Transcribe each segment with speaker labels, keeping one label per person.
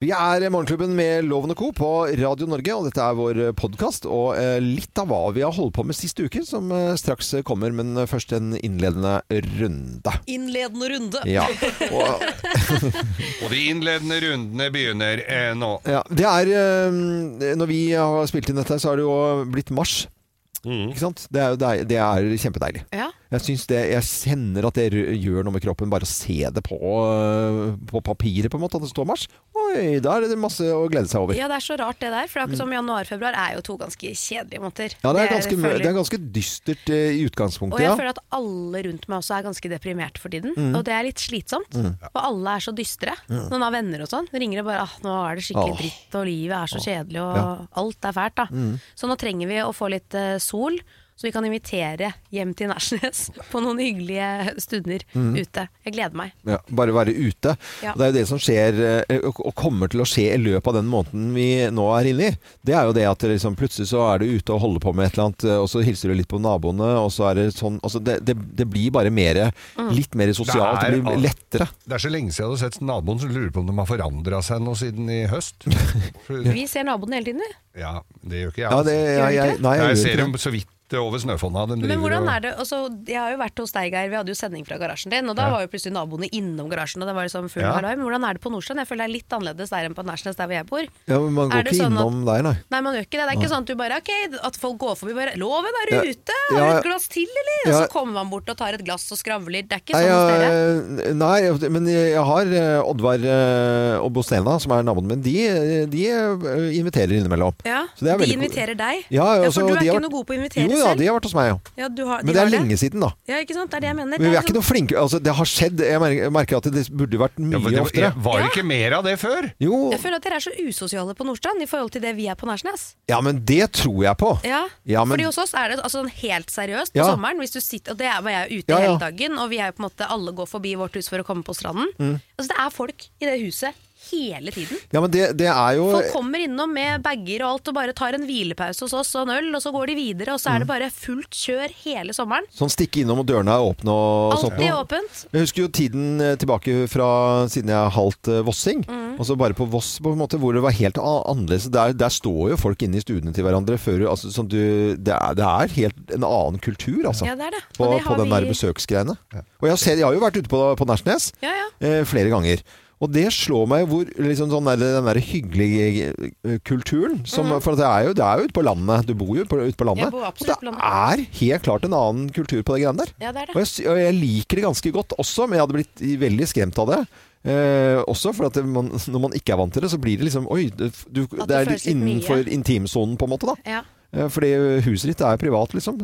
Speaker 1: Vi er Morgenklubben med Loven og Co. på Radio Norge, og dette er vår podkast. Og eh, litt av hva vi har holdt på med sist uke, som eh, straks kommer. Men eh, først en innledende runde.
Speaker 2: Innledende runde.
Speaker 1: Ja. Og,
Speaker 3: Og de innledende rundene begynner eh, nå.
Speaker 1: ja, det er eh, Når vi har spilt inn dette, så har det jo blitt mars. Ikke sant? Det er, jo deil- det er kjempedeilig.
Speaker 2: Ja.
Speaker 1: Jeg, synes det, jeg kjenner at det r- gjør noe med kroppen, bare å se det på, øh, på papiret, på en måte, at det står mars. Oi, da er det masse å glede seg over.
Speaker 2: Ja, det er så rart det der, for det er akkurat som januar-februar er jo to ganske kjedelige måneder.
Speaker 1: Ja, det er ganske, mø-
Speaker 2: føler-
Speaker 1: det er ganske dystert eh, i
Speaker 2: og
Speaker 1: utgangspunktet,
Speaker 2: jeg
Speaker 1: ja. Mhm.
Speaker 2: føler at alle rundt meg også er ganske deprimert for tiden, og det er litt slitsomt.
Speaker 1: Mm.
Speaker 2: Og alle er så dystre. Noen har venner og sånn, ringer og bare ah, 'nå er det skikkelig
Speaker 1: Åh. Mm.
Speaker 2: dritt, og livet er så kjedelig, og alt er fælt', da. Så nå trenger vi å få litt eh, sol, så vi kan invitere hjem til Nærsnes på noen hyggelige stunder
Speaker 1: Mm.
Speaker 2: ute. Jeg gleder meg.
Speaker 1: Ja, bare være ute.
Speaker 2: Ja.
Speaker 1: Og Det er jo det som skjer, eh, og og kommer til å skje i løpet av den måneden vi nå er inne i. Det er jo det at det liksom, plutselig så er du ute og holder på med et eller annet, eh, og så hilser du litt på naboene, og så er det sånn altså det, det, det blir bare mer,
Speaker 2: Mm.
Speaker 1: litt mer sosialt,
Speaker 3: Det er
Speaker 1: det blir
Speaker 3: alt.
Speaker 1: lettere.
Speaker 3: Det er så lenge siden jeg hadde sett naboen som lurer på om de har forandra seg nå siden i høst. For-
Speaker 2: Vi ser naboene hele tiden, vi.
Speaker 3: Ja, det gjør ikke jeg.
Speaker 1: Ja, det,
Speaker 3: altså.
Speaker 1: jeg, jeg, nei,
Speaker 3: jeg,
Speaker 1: jeg, gjør ikke
Speaker 3: ser
Speaker 1: det.
Speaker 3: dem så vidt over snøfonna. De
Speaker 2: Men
Speaker 3: driver
Speaker 2: hvordan
Speaker 3: og-
Speaker 2: er det? Altså, jeg har jo vært hos deg, Geir. Vi hadde jo sending fra garasjen din. Og da var jo plutselig naboene innom garasjen. Og det var liksom full
Speaker 3: Ja.
Speaker 2: halvøy. Men hvordan er det på Nordstrand? Jeg føler det er litt annerledes der enn på Nærsnes, der hvor jeg bor.
Speaker 1: Ja, men man går
Speaker 2: Er det
Speaker 1: ikke
Speaker 2: sånn at-
Speaker 1: innom der, nei.
Speaker 2: Nei, man gjør ikke det. Det er ikke sånn at du bare Ok, at folk går forbi bare Loven er
Speaker 1: Ja.
Speaker 2: ute! Har
Speaker 1: Ja.
Speaker 2: du et glass til, eller? Og
Speaker 1: Ja.
Speaker 2: så kommer man bort og tar et glass og skravler. Det er ikke
Speaker 1: Nei,
Speaker 2: sånn hos dere.
Speaker 1: jeg, nei, jeg- men jeg har eh, Oddvar eh, og Bostena, som er naboene mine, de, de eh, inviterer innimellom.
Speaker 2: Ja,
Speaker 1: Så det er
Speaker 2: De
Speaker 1: veldig ko-
Speaker 2: inviterer deg.
Speaker 1: Ja, også,
Speaker 2: for du er
Speaker 1: de har
Speaker 2: ikke
Speaker 1: vært-
Speaker 2: noe god på å invitere
Speaker 1: jo, Jo da,
Speaker 2: selv.
Speaker 1: de har vært hos meg, ja.
Speaker 2: Ja, du har,
Speaker 1: Men
Speaker 2: de
Speaker 1: det er
Speaker 2: har
Speaker 1: lenge siden, da.
Speaker 2: Ja, ikke sant? Det er det jeg mener.
Speaker 1: Men vi
Speaker 2: Det
Speaker 1: er ikke
Speaker 2: liksom-
Speaker 1: noe flinke altså, Det har skjedd. Jeg merker, jeg merker at det burde vært mye
Speaker 3: Ja, for det,
Speaker 1: oftere.
Speaker 3: var det ikke mer av det før?
Speaker 1: Jo,
Speaker 2: Jeg føler at dere er så usosiale på Nordstrand i forhold til det vi er på Nærsnes.
Speaker 1: ja, men det tror jeg på.
Speaker 2: Ja,
Speaker 1: Ja, men-
Speaker 2: fordi hos oss er det altså, sånn helt seriøst på
Speaker 1: Ja.
Speaker 2: sommeren. Hvis du sitter, og det er- var jeg ute
Speaker 1: Ja, ja.
Speaker 2: hele dagen, og vi er jo på en måte, alle går forbi vårt hus for å komme på stranden.
Speaker 1: Mm.
Speaker 2: Altså, det er folk i det huset hele tiden.
Speaker 1: Ja, men det, det er jo
Speaker 2: Folk kommer innom med bager og alt og bare tar en hvilepause hos oss og en øl, og så går de videre, og så er
Speaker 1: Mm.
Speaker 2: det bare fullt kjør hele sommeren.
Speaker 1: sånn stikke innom og dørene er åpne og sånt.
Speaker 2: Alltid
Speaker 1: noe.
Speaker 2: åpent.
Speaker 1: Jeg husker jo tiden eh, tilbake fra siden jeg er halvt eh, vossing.
Speaker 2: Mm.
Speaker 1: Altså bare på Voss, på en måte, hvor det var helt a- annerledes. Der, der står jo folk inne i stuene til hverandre. Før, du- altså, sånn du, det, er, det er helt en annen kultur, altså.
Speaker 2: Ja, det er det. Og
Speaker 1: På,
Speaker 2: det har
Speaker 1: på den
Speaker 2: vi-
Speaker 1: der besøksgreiene. Og jeg, ser, jeg har jo vært ute på, på Nærsnes
Speaker 2: Ja, ja.
Speaker 1: eh, flere ganger. Og det slår meg hvor liksom, sånn der, den der hyggelige eh, kulturen som, For det er, jo, det er jo ute på landet. Du bor jo på, ute på
Speaker 2: Mm.
Speaker 1: landet.
Speaker 2: Jeg bor
Speaker 1: og
Speaker 2: absolutt
Speaker 1: det
Speaker 2: på landet.
Speaker 1: er helt klart en annen kultur på de greiene der.
Speaker 2: Ja, det er det.
Speaker 1: Og jeg, sy- og jeg liker det ganske godt også, men jeg hadde blitt veldig skremt av det. Eh, også for at det, man, når man ikke er vant til det, så blir det liksom Oi, det, du,
Speaker 2: At det
Speaker 1: det er litt
Speaker 2: føles litt mye.
Speaker 1: innenfor intimsonen, på en måte. da
Speaker 2: Ja.
Speaker 1: Eh, Fordi huset ditt er privat, liksom.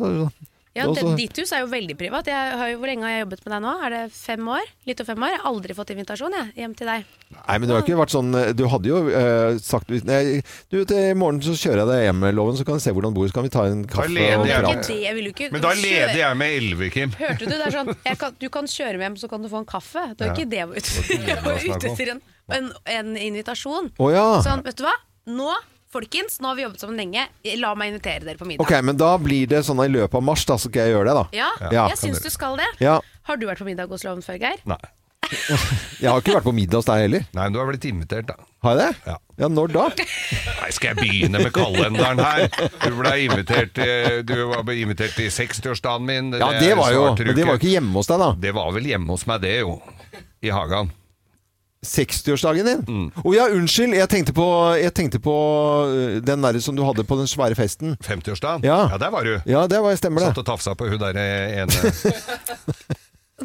Speaker 2: Ja,
Speaker 1: Og så-
Speaker 2: det, Ditt hus er jo veldig privat. Jeg har jo, hvor lenge har jeg jobbet med deg nå? Er det fem år? Litt over fem år? Jeg har aldri fått invitasjon jeg, hjem til deg.
Speaker 1: Nei, men du har ikke vært sånn Du hadde jo eh, sagt nei, Du, til i morgen så kjører jeg deg hjem, Loven, så kan vi se hvordan du bor. Så kan vi ta en kaffe
Speaker 3: leder
Speaker 1: og
Speaker 3: jeg
Speaker 2: Ikke
Speaker 3: Bra.
Speaker 1: prat.
Speaker 2: det, jeg vil jo ikke
Speaker 3: Men da
Speaker 2: kjøre-
Speaker 3: leder jeg med elleve, Kim.
Speaker 2: Hørte du? Det er sånn jeg kan, Du kan kjøre meg hjem, så kan du få en kaffe. Det er ikke det jeg var ute etter. Jeg var ute etter en, en, en invitasjon.
Speaker 1: Å ja.
Speaker 2: Sånn, vet du hva? Nå, folkens, nå har vi jobbet sammen lenge. La meg invitere dere på middag.
Speaker 1: Ok, men da blir det sånn i løpet av mars, da, så skal jeg gjøre det, da.
Speaker 2: Ja,
Speaker 1: Ja.
Speaker 2: jeg syns du skal det.
Speaker 1: Ja.
Speaker 2: Har du vært på middag hos Loven før, Geir?
Speaker 3: Nei.
Speaker 1: Jeg har ikke vært på middag hos deg heller.
Speaker 3: Nei, men du har blitt invitert, da. Eh,
Speaker 1: Har jeg det?
Speaker 3: Ja.
Speaker 1: Ja, når da?
Speaker 3: Nei, skal jeg begynne med kalenderen her? Du ble invitert til, du var invitert til 60-årsdagen min.
Speaker 1: Ja, det var jo
Speaker 3: svarte du
Speaker 1: Men det var jo ikke hjemme hos deg, da.
Speaker 3: Det var vel hjemme hos meg, det, jo. I hagen. Mm.
Speaker 1: 60-årsdagen din? Å ja, unnskyld! Jeg tenkte på, jeg tenkte på øh, den derre som du hadde på den svære festen.
Speaker 3: 50-årsdagen?
Speaker 1: Ja.
Speaker 3: der var du.
Speaker 1: Ja, det var, stemmer
Speaker 3: Satt
Speaker 1: det.
Speaker 3: og tafsa på hun der eh, ene.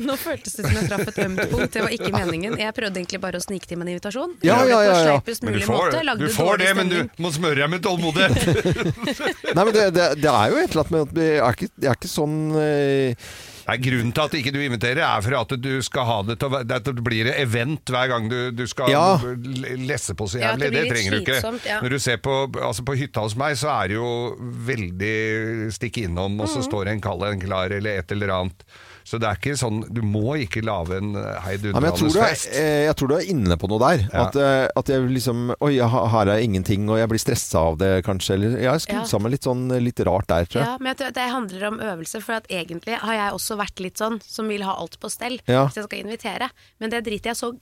Speaker 2: Nå føltes det som jeg traff et ømt punkt. Det var ikke meningen. Jeg prøvde egentlig bare å snike til med en invitasjon.
Speaker 1: Ja,
Speaker 2: Gjorde
Speaker 1: ja,
Speaker 2: det på
Speaker 1: ja, ja.
Speaker 2: sleipest
Speaker 3: Men du
Speaker 2: mulig
Speaker 3: får,
Speaker 2: måte, lagde
Speaker 3: du får
Speaker 2: dårlig
Speaker 3: det, men du
Speaker 2: stemning.
Speaker 3: må smøre deg med tålmodighet.
Speaker 1: Nei, men det, det, det er jo et eller annet med at det er ikke, det er ikke sånn øh,
Speaker 3: Nei, grunnen til at ikke du inviterer, er for at du skal ha det til å være det at Det blir et event hver gang du, du skal
Speaker 1: Ja.
Speaker 3: l- lesse på så
Speaker 2: Ja, at
Speaker 3: jævlig.
Speaker 2: det
Speaker 3: det,
Speaker 2: blir litt
Speaker 3: trenger du ikke.
Speaker 2: slitsomt, ja.
Speaker 3: Når du ser på, altså på hytta hos meg, så er det jo veldig stikk innom, og
Speaker 2: Mm.
Speaker 3: så står det en kald en klar eller et eller annet. Så det er ikke sånn Du må ikke lage en
Speaker 1: Ja, men jeg tror, du er,
Speaker 3: heidundrandes fest.
Speaker 1: eh, jeg tror du er inne på noe der.
Speaker 3: Ja.
Speaker 1: At, eh, at jeg liksom Oi, jeg har- her er ingenting, og jeg blir stressa av det, kanskje. Eller jeg har skrudd
Speaker 2: Ja.
Speaker 1: sammen litt sånn eh, litt rart der, tror jeg.
Speaker 2: Ja, men jeg tror at det handler om øvelse, for at egentlig har jeg også vært litt sånn som vil ha alt på stell
Speaker 1: Ja.
Speaker 2: hvis jeg skal invitere. Men det driter jeg så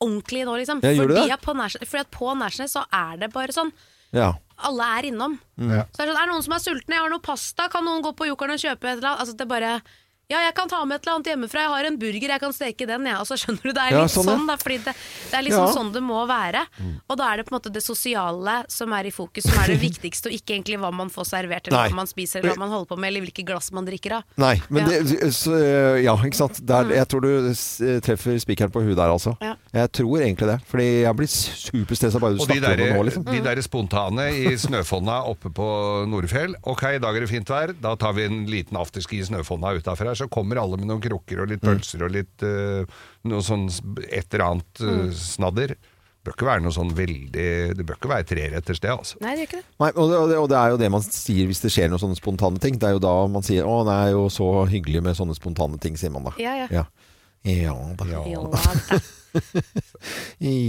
Speaker 2: ordentlig nå, liksom.
Speaker 1: Ja, gjør du
Speaker 2: fordi,
Speaker 1: det?
Speaker 2: at på Nærsnes, fordi at på Nærsnes så er det bare sånn.
Speaker 1: Ja. Mm.
Speaker 2: Alle er innom.
Speaker 3: Ja.
Speaker 2: Så det er sånn, er det noen som er sultne? Jeg har noe pasta, kan noen gå på Jokeren og kjøpe et eller annet? Altså, det er bare ja, jeg kan ta med et eller annet hjemmefra. Jeg har en burger, jeg kan steke den. Ja. Altså, skjønner du, Det er litt
Speaker 1: Ja, sånn,
Speaker 2: sånn,
Speaker 1: ja.
Speaker 2: da, fordi det, det er liksom
Speaker 1: Ja. Mm.
Speaker 2: sånn det må være. Og da er det på en måte det sosiale som er i fokus, som er det viktigste, og ikke egentlig hva man får servert, eller
Speaker 1: Nei.
Speaker 2: hva man spiser, eller hva man holder på med, eller hvilke glass man drikker av.
Speaker 1: Nei, men
Speaker 2: Ja.
Speaker 1: det så, øh, Ja, ikke sant. Der, Jeg tror du eh, s- treffer spikeren på huet der, altså.
Speaker 2: Ja.
Speaker 1: Jeg tror egentlig det. Fordi jeg blir superstressa bare du
Speaker 3: Og de
Speaker 1: snakker om det
Speaker 3: der, eh,
Speaker 1: nå, liksom.
Speaker 3: de der spontane i snøfonna oppe på Nordfjell. Ok, i dag er det fint vær, da tar vi en liten afterski i snøfonna utafor her. Så kommer alle med noen krukker og litt
Speaker 1: Mm.
Speaker 3: pølser og litt eh, noe sånn s- et eller annet eh, snadder. Det bør ikke være noe sånn veldig Det bør ikke være treretters, det, altså.
Speaker 2: Nei, det gjør ikke det.
Speaker 1: Nei, og det, og, det, og det er jo det man sier hvis det skjer noen sånne spontane ting. Det er jo da man sier 'Å, det er jo så hyggelig med sånne spontane ting', sier man da.
Speaker 2: Ja, ja.
Speaker 1: Ja, ja da. Ja,
Speaker 2: Jo, da.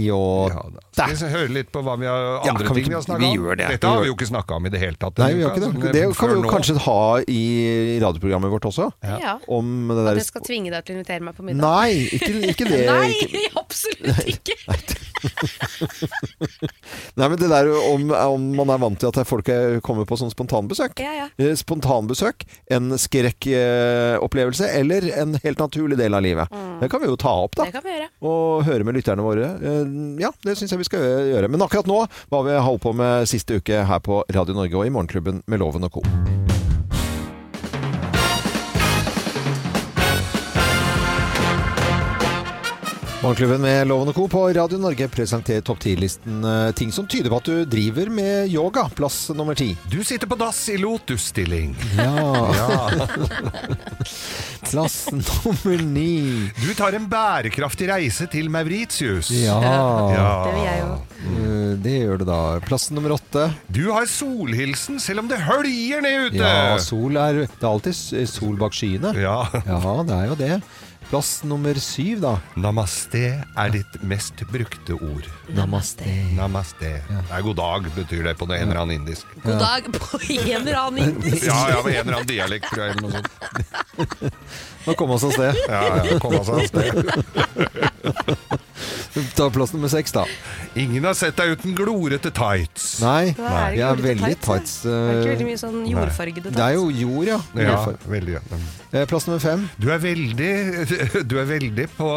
Speaker 3: Ja, da. Skal vi høre litt på hva vi har,
Speaker 1: Ja,
Speaker 3: andre
Speaker 1: kan vi
Speaker 3: ting vi har
Speaker 1: ikke-
Speaker 3: snakka
Speaker 1: vi
Speaker 3: om?
Speaker 1: gjør det.
Speaker 3: Dette har
Speaker 1: Vi
Speaker 3: vi jo ikke snakka om i det hele tatt. altså.
Speaker 1: Nei, vi gjør ikke det. Det kan vi jo kanskje ha i radioprogrammet vårt også.
Speaker 2: Ja.
Speaker 1: Om det
Speaker 2: At
Speaker 1: der
Speaker 2: jeg skal tvinge deg til å invitere meg på middag.
Speaker 1: Nei, ikke, ikke det. Ikke.
Speaker 2: Nei, absolutt ikke!
Speaker 1: Nei, men det der om, om man er vant til at folk er- kommer på sånn spontanbesøk.
Speaker 2: Ja, ja.
Speaker 1: Eh, Spontanbesøk, en skrekkopplevelse eller en helt naturlig del av livet.
Speaker 2: Mm.
Speaker 1: Det kan vi jo ta opp, da.
Speaker 2: Det kan vi gjøre.
Speaker 1: og høre med lytterne våre. Eh, Ja, det syns jeg vi skal gjøre. Men akkurat nå, hva vi holdt på med siste uke her på Radio Norge og i Morgenklubben med Loven og co. Morgenklubben med Loven og Co. på Radio Norge presenterer topp 10-listen eh, ting som tyder på at du driver med yoga. Plass nummer ti.
Speaker 3: Du sitter på dass i lotusstilling.
Speaker 1: Ja.
Speaker 3: Ja.
Speaker 1: Plass nummer ni.
Speaker 3: Du tar en bærekraftig reise til Mauritius.
Speaker 1: Ja,
Speaker 2: Det vil jeg jo.
Speaker 1: eh, det gjør du da. Plass nummer åtte.
Speaker 3: Du har solhilsen selv om det høljer ned ute!
Speaker 1: Ja, sol er Det er alltid s- eh, sol bak skyene.
Speaker 3: Ja.
Speaker 1: Ja, det er jo det. Plass nummer syv, da.
Speaker 3: Namaste er ditt mest brukte ord.
Speaker 1: Namaste.
Speaker 3: Namaste. Det er god dag, betyr det på det en eller annen indisk.
Speaker 2: God dag på en eller annen indisk
Speaker 3: Ja, ja, med en eller annen dialekt, tror jeg. Eller noe sånt.
Speaker 1: Nå kom vi oss av sted.
Speaker 3: Ja, ja, kom altså av sted.
Speaker 1: Ta plass nummer seks, da.
Speaker 3: Ingen har sett deg uten glorete tights.
Speaker 1: Nei,
Speaker 2: Hva er det
Speaker 1: jeg er
Speaker 2: glorete
Speaker 1: veldig
Speaker 2: tights,
Speaker 1: tights.
Speaker 2: Det er ikke
Speaker 1: eh,
Speaker 2: veldig mye sånn jordfargede
Speaker 1: Det er jo jord, ja.
Speaker 3: Ja,
Speaker 1: Jordfarge.
Speaker 3: veldig. ja. Mm.
Speaker 1: Eh, Plass nummer fem.
Speaker 3: Du er veldig, du er veldig på,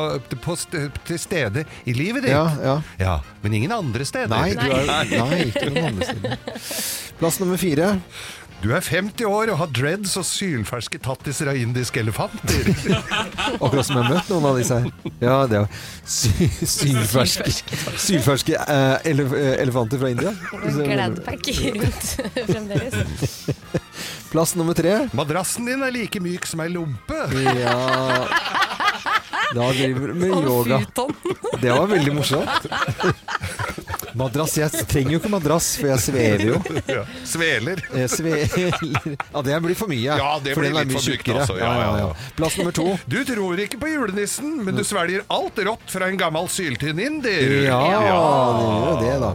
Speaker 3: på, st- til stede i livet ditt.
Speaker 1: Ja, ja.
Speaker 3: Ja, men ingen andre steder.
Speaker 1: Nei, du er, nei ikke noen andre steder. Plass nummer fire.
Speaker 3: Du er 50 år og har dreads og sylferske tattiser av indiske elefanter.
Speaker 1: Akkurat som jeg har møtt noen av disse her. Ja, det er sy sylferske, sylferske eh, elef eh, elefanter fra India.
Speaker 2: Gladpack rundt fremdeles.
Speaker 1: Plass nummer tre.
Speaker 3: Madrassen din er like myk som ei lompe.
Speaker 1: Ja Da driver du med yoga.
Speaker 2: futon.
Speaker 1: Det var veldig morsomt. Madrass. Jeg trenger jo ikke madrass, for jeg svever jo.
Speaker 3: Ja. Sveler.
Speaker 1: Jeg svever. Ja, det blir for mye.
Speaker 3: Ja, det
Speaker 1: for
Speaker 3: blir
Speaker 1: den er
Speaker 3: litt
Speaker 1: mye
Speaker 3: for mykt,
Speaker 1: tjukkere.
Speaker 3: altså. Ja, ja, ja.
Speaker 1: Plass nummer to. Mm.
Speaker 3: Du tror ikke på julenissen, men du svelger alt rått fra en gammel syltynn inder.
Speaker 1: Ja,
Speaker 3: Ja.
Speaker 1: det gjør jo det, da.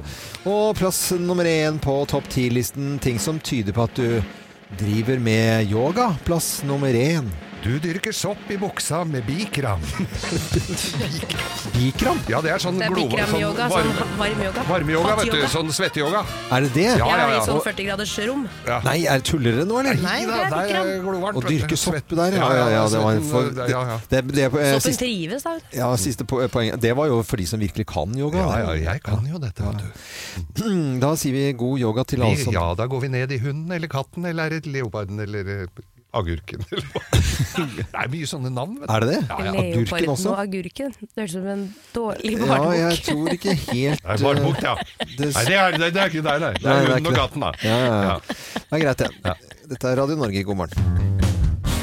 Speaker 1: Og plass nummer én på topp ti-listen ting som tyder på at du driver med yoga. Plass nummer én.
Speaker 3: Du dyrker sopp i buksa med bikram.
Speaker 1: Bikram?
Speaker 3: Ja, det er sånn
Speaker 2: Det er
Speaker 3: glovarm
Speaker 2: bikram-yoga, sånn
Speaker 3: varme,
Speaker 2: varm-yoga.
Speaker 3: varmeyoga, vet du.
Speaker 2: Hot-yoga.
Speaker 3: Sånn svetteyoga.
Speaker 1: Er det det?
Speaker 3: Ja,
Speaker 2: Ja,
Speaker 3: ja,
Speaker 2: i
Speaker 3: ja.
Speaker 2: sånn 40 graders rom.
Speaker 1: Nei, er tuller det nå, eller?
Speaker 2: Nei, det er
Speaker 3: da, der
Speaker 2: bikram.
Speaker 3: glovarmt.
Speaker 1: Å dyrke sopp der, ja.
Speaker 3: Ja,
Speaker 1: ja, ja, det var en
Speaker 3: svetten,
Speaker 1: for,
Speaker 3: ja,
Speaker 1: det,
Speaker 3: ja, ja.
Speaker 1: det, det, eh,
Speaker 2: Soppen
Speaker 1: siste,
Speaker 2: trives, da. vet du.
Speaker 1: ja, siste po- eh, poeng Det var jo for de som virkelig kan yoga.
Speaker 3: Ja,
Speaker 1: det.
Speaker 3: ja, jeg kan jo dette, vet du.
Speaker 1: Mm, Da sier vi god yoga til alle som
Speaker 3: Ja, da går vi ned i hunden eller katten eller er det leoparden eller eh, agurken eller hva. Det er mye sånne navn, vet du.
Speaker 1: Er det det?
Speaker 3: Ja, ja.
Speaker 1: Agurken
Speaker 2: Leoparden
Speaker 1: også?
Speaker 2: og agurken. Det høres ut som en dårlig
Speaker 1: Ja, jeg
Speaker 2: barnebok.
Speaker 1: tror ikke helt
Speaker 3: Nei, barnebok, ja.
Speaker 1: eh, det,
Speaker 3: Nei, det er, det, det er ikke deg, nei. Det
Speaker 1: Nei, det
Speaker 3: er
Speaker 1: er ikke
Speaker 3: hunden og
Speaker 1: det.
Speaker 3: katten, da.
Speaker 1: ja, ja, ja. det er greit, det. Dette er Radio Norge, god morgen.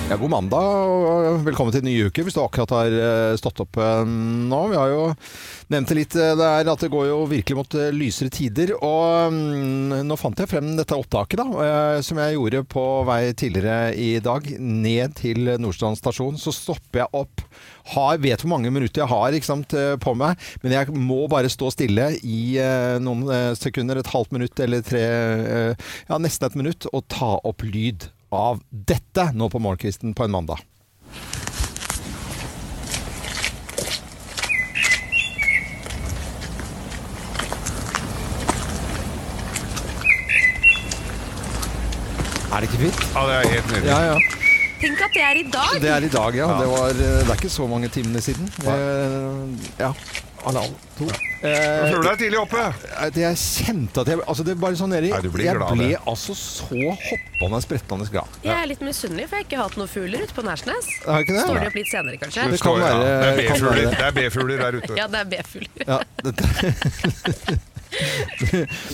Speaker 1: Ja, god mandag og velkommen til en ny uke hvis du akkurat har eh, stått opp eh, nå. Vi har jo nevnt det litt eh, der at det går jo virkelig mot eh, lysere tider. Og mm, nå fant jeg frem dette opptaket da, eh, som jeg gjorde på vei tidligere i dag ned til Nordstrand stasjon. Så stopper jeg opp. Har, vet hvor mange minutter jeg har ikke sant, eh, på meg, men jeg må bare stå stille i eh, noen eh, sekunder, et halvt minutt eller tre, eh, ja nesten et minutt, og ta opp lyd av dette nå på morgenkvisten på en mandag. Er det ikke fint?
Speaker 3: Ja, det er helt nydelig.
Speaker 1: Ja, ja.
Speaker 2: Tenk at det er i dag!
Speaker 1: Det er i dag, ja.
Speaker 3: Ja.
Speaker 1: Det, var, eh, det er ikke så mange timene siden.
Speaker 3: Nei.
Speaker 1: Eh, ja. Halvannen, to.
Speaker 3: Jeg
Speaker 1: Eh,
Speaker 3: føler deg tidlig oppe.
Speaker 1: det jeg kjente at jeg altså det er bare sånn, Erik,
Speaker 3: Nei, du blir
Speaker 1: Jeg
Speaker 3: glad,
Speaker 1: ble
Speaker 3: det.
Speaker 1: altså så hoppende sprettende glad.
Speaker 2: Jeg er litt misunnelig, for jeg har ikke hatt noen fugler ute på Nærsnes.
Speaker 1: Er det ikke det?
Speaker 2: Står de opp litt senere, kanskje?
Speaker 1: Det kan
Speaker 3: Står- ja,
Speaker 1: være-
Speaker 3: det er
Speaker 1: kan være
Speaker 3: B-fugler.
Speaker 1: det.
Speaker 3: Det er B-fugler der ute.
Speaker 2: Ja, det er B-fugler.
Speaker 1: Ja, dette.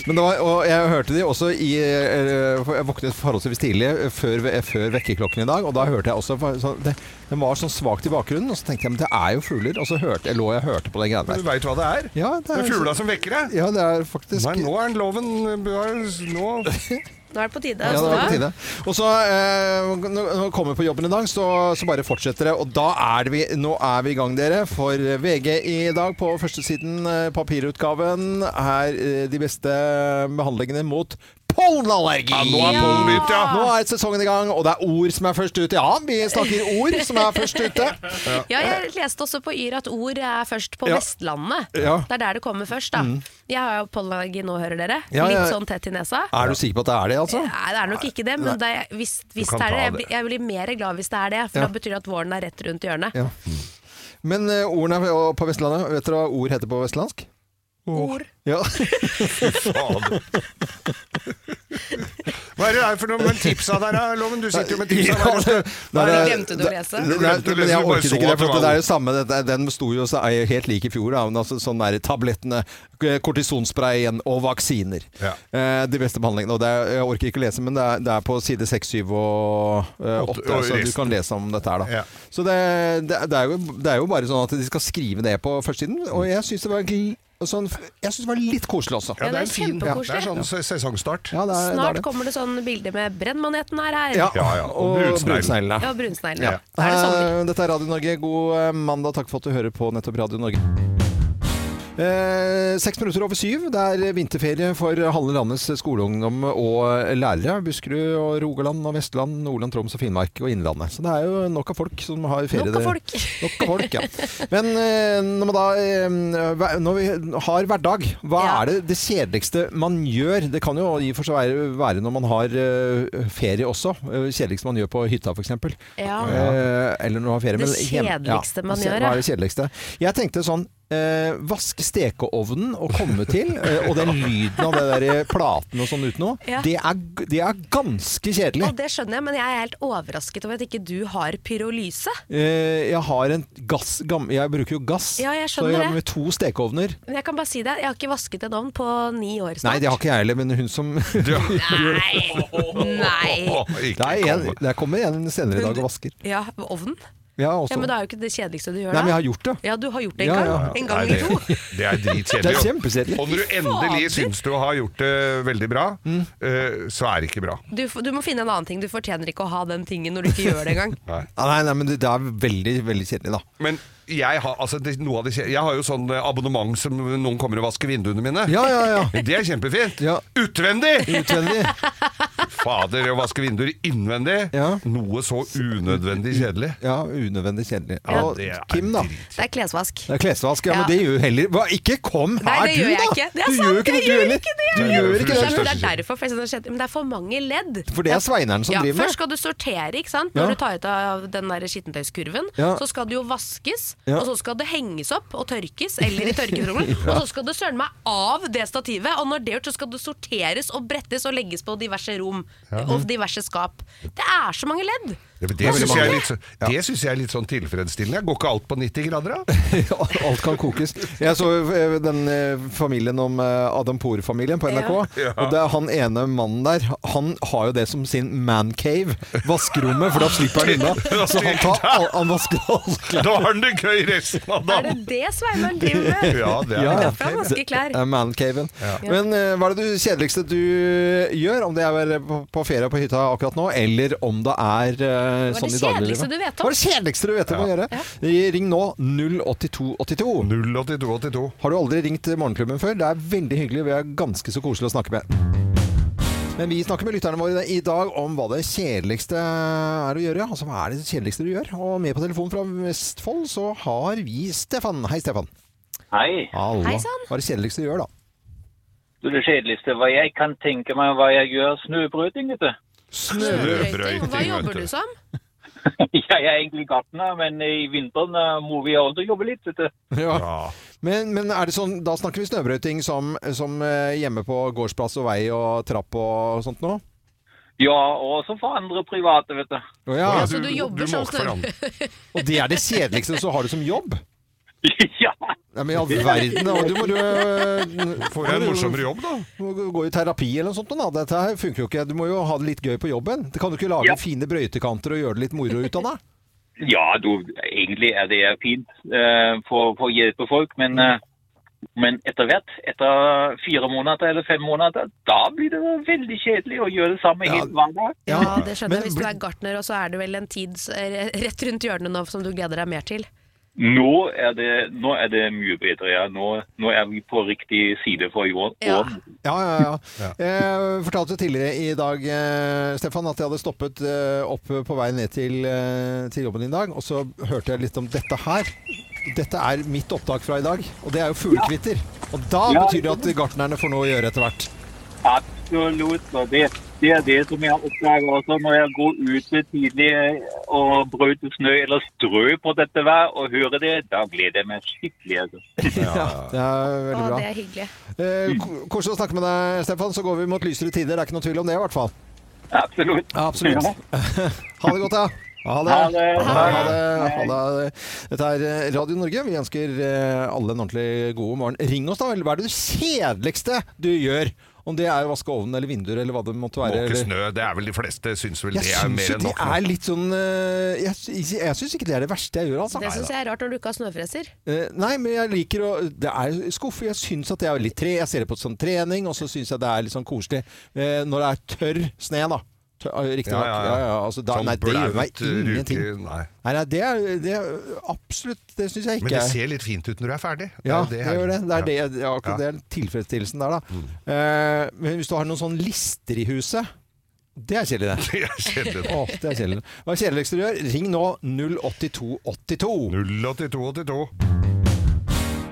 Speaker 1: Men det var, og jeg hørte de også i eh, for Jeg våknet forholdsvis tidlig eh, før, eh, før vekkerklokken i dag, og da hørte jeg også for- sånn, det, Den var sånn svakt i bakgrunnen, og så tenkte jeg men det er jo fugler. Og så hørte, jeg lå jeg og hørte på de greiene
Speaker 3: Du
Speaker 1: der.
Speaker 3: veit hva det er?
Speaker 1: Ja, det
Speaker 3: Det
Speaker 1: er,
Speaker 3: er fugla som vekker deg.
Speaker 1: ja, det er faktisk
Speaker 3: Nei, nå er loven Nå
Speaker 2: Nå er det på tide.
Speaker 1: Ja, det
Speaker 2: altså,
Speaker 1: var på
Speaker 2: da.
Speaker 1: tide. Og så, eh, når- når jeg kommer på jobben i dag, så, så bare fortsetter det. Og da er det vi, nå er vi i gang, dere. For VG i dag på førstesiden, eh, papirutgaven, er eh, de beste behandlingene mot pollenallergi.
Speaker 3: Ja, nå er pollen begynt, ja.
Speaker 1: Nå er sesongen i gang, og det er ord som er først ute. Ja, vi snakker ord som er først ute.
Speaker 2: Ja, jeg leste også på Yr at ord er først på
Speaker 1: Ja.
Speaker 2: Vestlandet.
Speaker 1: Ja. Mm.
Speaker 2: Det er der det kommer først, da. Jeg har jo pollenallergi nå, hører dere.
Speaker 1: Ja, ja.
Speaker 2: Litt sånn tett i nesa.
Speaker 1: Er du sikker på at det er det, altså?
Speaker 2: Nei, det er nok ikke det, men det er, hvis, hvis
Speaker 3: kan
Speaker 2: det er det,
Speaker 3: ta
Speaker 2: jeg
Speaker 3: det.
Speaker 2: blir, jeg blir mer glad hvis det er det. For
Speaker 1: Ja.
Speaker 2: da betyr det at våren er rett rundt hjørnet.
Speaker 1: Ja. Men eh, ordene er på Vestlandet, vet dere hva ord heter på vestlandsk?
Speaker 2: Ord.
Speaker 1: Ja.
Speaker 3: Fader. Hva er det der for noe med tipsa der, da, Loven? Du sitter jo med tipsa der. og skal-
Speaker 1: Nei,
Speaker 2: Bare
Speaker 1: det-
Speaker 2: glemte du å lese?
Speaker 1: det- det-
Speaker 3: Glemte å lese,
Speaker 1: Men jeg
Speaker 3: du bare
Speaker 1: orket
Speaker 3: så
Speaker 1: ikke det,
Speaker 3: at det
Speaker 1: for
Speaker 3: var
Speaker 1: det er det samme. det- Den sto jo så er jo helt lik i fjor, da. Men altså, sånn der, tablettene, eh, kortisonsprayen og vaksiner.
Speaker 3: Ja.
Speaker 1: Eh, de beste behandlingene. Og det er, jeg orker ikke lese, men det er, det er på side 6, 7 og eh, 8,
Speaker 3: og
Speaker 1: så du
Speaker 3: resten.
Speaker 1: kan lese om dette her, da.
Speaker 3: Ja.
Speaker 1: Så det, det, det, er jo, det er jo bare sånn at de skal skrive det på førstesiden, og jeg syns det, var gl- sånn, jeg synes det var litt koselig også.
Speaker 3: Ja,
Speaker 2: Ja,
Speaker 3: det er
Speaker 2: det er
Speaker 3: fin ja, Det er
Speaker 2: kjempekoselig.
Speaker 3: sånn se- sesongstart.
Speaker 1: Ja, det er, det er
Speaker 2: Snart
Speaker 1: det.
Speaker 2: kommer det sånn bilde med 'brennmaneten er her'.
Speaker 1: Ja,
Speaker 3: Ja, ja, og
Speaker 1: og
Speaker 3: brunsneglene.
Speaker 1: brunsneglene.
Speaker 2: Ja, brunsneglen.
Speaker 3: Ja.
Speaker 2: Da er det sånn- sommer.
Speaker 1: Eh, Dette er Radio Norge. God eh, mandag. Takk for at du hører på nettopp Radio Norge. Eh, seks minutter over syv. Det er vinterferie for halve landets skoleungdom og lærere. Buskerud og Rogaland og Vestland, Nordland, Troms og Finnmark og Innlandet. Så det er jo nok av folk som har ferie.
Speaker 2: Nok av
Speaker 1: Det-
Speaker 2: folk.
Speaker 1: Nok av folk, ja. Men eh, når, man da, eh, hver- når vi har hverdag, hva
Speaker 2: Ja.
Speaker 1: er det det kjedeligste man gjør? Det kan jo i og for seg være, være når man har eh, ferie også. Eh, Kjedeligste man gjør på hytta, f.eks.
Speaker 2: Ja.
Speaker 1: Eh, eller når man har ferie.
Speaker 2: Det
Speaker 1: men hjem-
Speaker 2: kjedeligste man
Speaker 1: se-
Speaker 2: gjør,
Speaker 1: Hva
Speaker 2: ja.
Speaker 1: er det kjedeligste? Jeg tenkte sånn eh, Vaske stekeovnen og komme til, eh, og den lyden av det der platen og sånn utenå,
Speaker 2: Ja.
Speaker 1: det, er, g- det er ganske kjedelig.
Speaker 2: Og det skjønner jeg, men jeg er helt overrasket over at ikke du har pyrolyse.
Speaker 1: Eh, jeg har en gass gam, Jeg bruker jo gass,
Speaker 2: Ja, jeg
Speaker 1: så
Speaker 2: skjønner
Speaker 1: jeg
Speaker 2: det.
Speaker 1: har med to stekeovner.
Speaker 2: Men jeg kan bare si det, jeg har ikke vasket en ovn på ni år
Speaker 1: Nei,
Speaker 2: snart.
Speaker 1: det har ikke jeg heller, men hun som Det
Speaker 2: Nei! Nei.
Speaker 3: Åh, ikke
Speaker 1: er en,
Speaker 3: komme.
Speaker 1: der kommer en senere i dag og vasker.
Speaker 2: Ja, ovn?
Speaker 1: Ja, også.
Speaker 2: Ja, Men det er jo ikke det kjedeligste du gjør,
Speaker 1: Nei, men
Speaker 2: da.
Speaker 1: jeg har gjort det.
Speaker 2: Ja, du har gjort det en
Speaker 1: Ja,
Speaker 2: gang.
Speaker 1: ja, ja.
Speaker 2: En
Speaker 3: Nei,
Speaker 2: gang
Speaker 3: det,
Speaker 2: eller to.
Speaker 3: det er dritkjedelig.
Speaker 1: Det er
Speaker 3: jo.
Speaker 1: kjempekjedelig.
Speaker 3: Og når du endelig syns du har gjort det veldig bra,
Speaker 1: Mm.
Speaker 3: eh, så er det ikke bra.
Speaker 2: Du, f- du må finne en annen ting. Du fortjener ikke å ha den tingen når du ikke gjør det engang.
Speaker 3: Nei.
Speaker 1: Ja, Nei, nei, men det, det er veldig, veldig kjedelig, da.
Speaker 3: Men jeg har, altså, det, noe av det, kje- jeg har jo sånn eh, abonnement som noen kommer og vasker vinduene mine.
Speaker 1: Ja, ja, ja.
Speaker 3: Det er kjempefint.
Speaker 1: Ja.
Speaker 3: Utvendig!
Speaker 1: Utvendig.
Speaker 3: Fader, å vaske vinduer innvendig.
Speaker 1: Ja.
Speaker 3: Noe så unødvendig kjedelig.
Speaker 1: Ja, unødvendig kjedelig.
Speaker 3: Ja,
Speaker 1: og
Speaker 3: det er
Speaker 1: Kim, da.
Speaker 3: drit.
Speaker 2: Det er klesvask.
Speaker 1: Det er klesvask, ja,
Speaker 2: Ja.
Speaker 1: men det gjør jo heller Hva, Ikke kom her,
Speaker 2: Nei, det
Speaker 1: du,
Speaker 2: gjør jeg
Speaker 1: da!
Speaker 2: ikke. Det er
Speaker 1: du
Speaker 2: sant,
Speaker 1: gjør jo ikke det,
Speaker 2: jeg
Speaker 1: du
Speaker 2: gjør
Speaker 1: heller!
Speaker 2: ikke
Speaker 1: Du gjør ikke
Speaker 2: Det
Speaker 1: det.
Speaker 2: er, det er derfor, for jeg synes det er skjedd- men det er for mange ledd.
Speaker 1: For det er Sveineren som
Speaker 2: ja,
Speaker 1: driver med.
Speaker 2: Først skal du sortere, ikke sant.
Speaker 1: Ja.
Speaker 2: Når du tar ut av den der skittentøyskurven,
Speaker 1: Ja.
Speaker 2: så skal det jo vaskes,
Speaker 1: Ja.
Speaker 2: og så skal det henges opp og tørkes, eller i tørketrommelen. Og så skal det søren meg av det stativet, og når det er gjort, så skal det sorteres og brettes og legges på diverse rom og diverse skap. Det er så mange ledd!
Speaker 3: Ja, men
Speaker 1: Det er
Speaker 3: det
Speaker 1: veldig
Speaker 3: syns jeg, er
Speaker 1: mange.
Speaker 3: litt så- det synes jeg er litt sånn tilfredsstillende. Går ikke alt på 90 grader, da?
Speaker 1: Ja, Alt kan kokes. Jeg så eh, den eh, familien om eh, Adam Poor-familien på NRK.
Speaker 3: Ja.
Speaker 1: Og det er han ene mannen der, han har jo det som sin mancave. Vaskerommet, for da slipper han unna. Så han, tar, all- han vasker alle klær.
Speaker 3: Da har den det gøy resten av
Speaker 2: Er det
Speaker 3: dagen!
Speaker 2: det Sveinung driver med?
Speaker 3: Ja, det
Speaker 1: Ja. eh,
Speaker 3: er det.
Speaker 2: Derfor han vasker klær.
Speaker 1: Det er mancaven. Men eh, hva er det du, kjedeligste du gjør? Om det er å være på- på ferie på hytta akkurat nå, eller om det er eh,
Speaker 2: Hva er
Speaker 1: sånn
Speaker 2: det
Speaker 1: i dagliglivet.
Speaker 2: kjedeligste du vet om?
Speaker 1: Hva er det kjedeligste du vet om å gjøre? Eh, Ring nå 08282.
Speaker 3: 08282.
Speaker 1: Har du aldri ringt Morgenklubben før? Det er veldig hyggelig. Vi er ganske så koselig å snakke med. Men vi snakker med lytterne våre i dag om hva det kjedeligste er å gjøre. Altså, hva er det kjedeligste du gjør? Og med på telefon fra Vestfold så har vi Stefan. Hei, Stefan.
Speaker 4: Hei.
Speaker 1: Hallo.
Speaker 2: Hei, sann.
Speaker 1: Hva er det kjedeligste du gjør, da?
Speaker 4: Du, det kjedeligste hva jeg kan tenke meg hva jeg gjør, snøbrøting, vet du.
Speaker 2: Snøbrøyting. Hva
Speaker 3: Snøbrøyting,
Speaker 2: jobber du
Speaker 3: vet du.
Speaker 2: som?
Speaker 4: Ja, jeg er egentlig gartner, men i vinteren eh, må vi også jobbe litt, vet du.
Speaker 1: Ja.
Speaker 3: Ja.
Speaker 1: Men, men er det sånn, da snakker vi snøbrøyting som, som eh, hjemme på gårdsplass og vei og trapp og sånt noe?
Speaker 4: Ja, også for andre private, vet du.
Speaker 1: Å ja.
Speaker 2: så du jobber sånn
Speaker 3: må
Speaker 2: som
Speaker 3: ikke forandre.
Speaker 1: Og det er det kjedeligste, så har du som jobb?
Speaker 4: ja,
Speaker 1: Ja, men i all verden, da. du må jo eh,
Speaker 3: Får jeg en morsommere jobb, da?
Speaker 1: må gå i terapi eller noe sånt. Da. Dette her funker jo ikke. Du må jo ha det litt gøy på jobben. Det kan du ikke lage
Speaker 4: Ja.
Speaker 1: fine brøytekanter og gjøre det litt moro ut av det?
Speaker 4: ja du, egentlig er det fint eh, for, for å hjelpe folk, men, eh, men etter hvert, etter fire måneder eller fem måneder, da blir det veldig kjedelig å gjøre det samme
Speaker 1: Ja.
Speaker 4: helt hver dag.
Speaker 2: Ja, det skjønner
Speaker 1: Men
Speaker 2: jeg. Hvis du
Speaker 1: bli-
Speaker 2: er gartner, og så er det vel en tid s- eh, rett rundt hjørnet nå som du gleder deg mer til.
Speaker 4: Nå er det, nå er det mye bedre, ja. Nå, nå er vi på riktig side for jorden.
Speaker 2: Ja.
Speaker 1: Ja, ja, ja. Jeg fortalte tidligere i dag, eh, Stefan, at jeg hadde stoppet eh, opp på vei ned til, eh, til jobben din i dag, og så hørte jeg litt om dette her. Dette er mitt opptak fra i dag, og det er jo fuglekvitter. Og da
Speaker 4: Ja.
Speaker 1: betyr det at gartnerne får noe å gjøre etter hvert.
Speaker 4: Absolutt. og Det, det er det som jeg oppdager også når jeg går ut ved tidlig eh, og brøyter snø eller strø på dette vær og hører det. Da gleder jeg meg skikkelig. Altså.
Speaker 1: Det er veldig
Speaker 2: Å,
Speaker 1: bra.
Speaker 2: det er hyggelig.
Speaker 1: Eh, ko- Koselig å snakke med deg, Stefan. Så går vi mot lysere tider. Det er ikke noe tvil om det, i hvert fall.
Speaker 4: Absolutt.
Speaker 1: Absolutt.
Speaker 4: Ja.
Speaker 1: Ha det godt, da. Ha det.
Speaker 4: Ha det.
Speaker 1: Ha det. Ha det. Dette er eh, Radio Norge. Vi ønsker eh, alle en ordentlig god morgen. Ring oss, da. Eller hva er det kjedeligste du gjør? Om det er å vaske ovnen eller vinduer eller hva det måtte være.
Speaker 3: Måke
Speaker 1: eller-
Speaker 3: snø, det er vel de fleste syns vel
Speaker 1: Jeg
Speaker 3: det er
Speaker 1: syns
Speaker 3: mer
Speaker 1: jo
Speaker 3: enn
Speaker 1: det
Speaker 3: nok. nå.
Speaker 1: er litt sånn eh, Jeg, sy- jeg syns ikke det er det verste jeg gjør, altså.
Speaker 2: Det syns jeg er sånn rart når du ikke har snøfreser.
Speaker 1: Eh, Nei, men jeg liker å Det er skuffe. Jeg syns at det er litt tre. Jeg ser det på som trening, og så syns jeg det er litt sånn koselig eh, når det er tørr sne, da. Riktignok. Ja, ja, ja. altså, da-
Speaker 3: Sånn
Speaker 1: nei, det gjør meg
Speaker 3: blaut, uh,
Speaker 1: ingenting.
Speaker 3: ruke, Nei.
Speaker 1: Nei, nei, det er, det er absolutt Det syns jeg ikke
Speaker 3: Men det
Speaker 1: er-
Speaker 3: ser litt fint ut når du er ferdig.
Speaker 1: ja,
Speaker 3: er jo
Speaker 1: det, gjør det. Det er, det,
Speaker 3: Ja. Mm.
Speaker 1: ja, akkurat det er tilfredsstillelsen der, da. Eh, men hvis du har noen sånne lister i huset Det er kjedelig, det.
Speaker 3: Det er kjedelig.
Speaker 1: Åh, det er kjedelig. Hva er det kjedeligste du gjør? Ring nå 08282.
Speaker 3: 08282.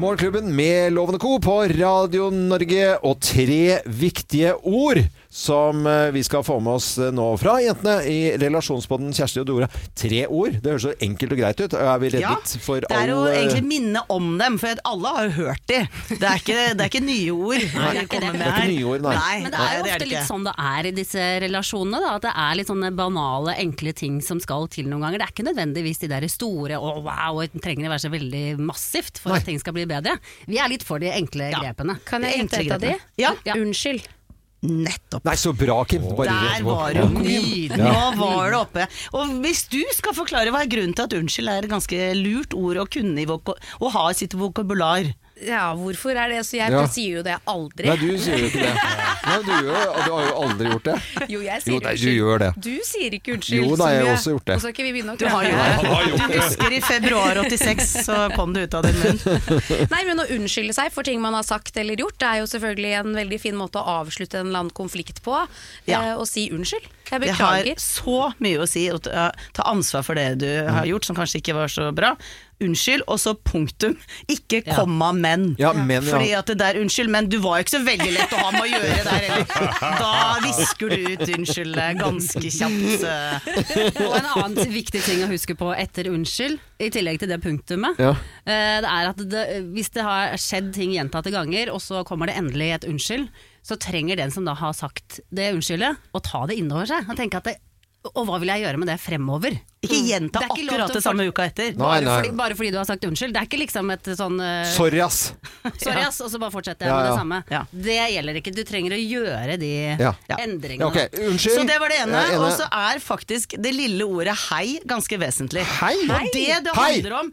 Speaker 1: Morgenklubben med Lovende Co. på Radio Norge og tre viktige ord som eh, vi skal få med oss eh, nå fra jentene i relasjonsbåten Kjersti og Dora. Tre ord, det høres så enkelt og greit ut. Er vi reddet for
Speaker 5: det
Speaker 1: all
Speaker 5: er jo
Speaker 1: eh,
Speaker 5: egentlig minne om dem, for at alle har jo hørt de. Det er ikke, det er ikke nye ord
Speaker 6: det er
Speaker 5: vi
Speaker 6: ikke
Speaker 5: kommer
Speaker 6: det.
Speaker 5: med
Speaker 1: Det er ikke
Speaker 5: her.
Speaker 1: nye ord, nei.
Speaker 6: Men det er jo
Speaker 5: det
Speaker 6: ofte
Speaker 5: det
Speaker 6: litt
Speaker 5: ikke.
Speaker 6: sånn det er i disse relasjonene, da, at det er litt sånne banale, enkle ting som skal til noen ganger. Det er ikke nødvendigvis de der store å wow, det trenger å være så veldig massivt for at ting skal bli bedre. Vi er litt for de enkle grepene.
Speaker 2: Kan jeg gjette et av de?
Speaker 5: Ja.
Speaker 2: Unnskyld.
Speaker 5: Nettopp.
Speaker 1: Nei, så bra, Kim. Bare rett
Speaker 5: Der
Speaker 1: på.
Speaker 5: var du nydelig. Nå var du oppe. Og hvis du skal forklare hva er grunnen til at unnskyld er et ganske lurt ord å kunne i vok å ha i sitt vokabular.
Speaker 2: Ja, hvorfor er det så Jeg
Speaker 1: Ja.
Speaker 2: sier jo det aldri.
Speaker 1: Nei, du sier jo ikke det. Nei, du, gjør, du har jo aldri gjort det.
Speaker 2: Jo, jeg sier
Speaker 1: Jo, nei, du
Speaker 2: unnskyld.
Speaker 1: gjør det.
Speaker 2: Du sier ikke unnskyld.
Speaker 1: Jo da,
Speaker 2: så
Speaker 1: jeg har
Speaker 2: mye.
Speaker 1: også gjort det.
Speaker 2: Og så skal vi begynne å
Speaker 5: Du har
Speaker 2: krangle
Speaker 5: jo
Speaker 2: her.
Speaker 5: det. Du husker i februar 86, så kom det ut av din munn.
Speaker 2: Nei, men å unnskylde seg for ting man har sagt eller gjort, det er jo selvfølgelig en veldig fin måte å avslutte en eller annen konflikt på.
Speaker 5: Ja.
Speaker 2: Eh, og si unnskyld. Jeg
Speaker 5: Det har
Speaker 2: beklager.
Speaker 5: så mye å si. Å ta ta ansvar for det du
Speaker 1: Mm.
Speaker 5: har gjort som kanskje ikke var så bra. Unnskyld, og så punktum. Ikke komma, men.
Speaker 1: Ja, men, ja.
Speaker 5: Fordi at det der, unnskyld, men du var jo ikke så veldig lett å ha med å gjøre der heller. Da visker du ut unnskyld eh, ganske kjapt. eh.
Speaker 6: Og en annen viktig ting å huske på etter unnskyld, i tillegg til det punktumet,
Speaker 1: Ja.
Speaker 6: eh, det er at det, hvis det har skjedd ting gjentatte ganger, og så kommer det endelig et unnskyld, så trenger den som da har sagt det unnskyldet, å ta det innover seg. Og tenke at det, og hva vil jeg gjøre med det fremover? Mm.
Speaker 5: Ikke gjenta
Speaker 6: Det er ikke lov
Speaker 5: akkurat
Speaker 6: til
Speaker 5: det
Speaker 6: å
Speaker 5: samme uka etter.
Speaker 1: Nei,
Speaker 6: Bare,
Speaker 1: nei.
Speaker 6: Fordi, bare fordi du har sagt unnskyld. Det er ikke liksom et sånn eh,
Speaker 1: Sorry, ass.
Speaker 6: Sorry, ass, og så bare fortsetter jeg
Speaker 1: Ja, ja.
Speaker 6: med det
Speaker 5: Ja.
Speaker 6: samme. Det gjelder ikke. Du trenger å gjøre de
Speaker 1: Ja.
Speaker 6: endringene.
Speaker 1: Ja, ok, unnskyld.
Speaker 5: Så det var det ene.
Speaker 1: Jeg er enig.
Speaker 5: Og så er faktisk det lille ordet hei ganske vesentlig.
Speaker 1: Hei!
Speaker 5: Og det det
Speaker 1: Hei!
Speaker 5: handler om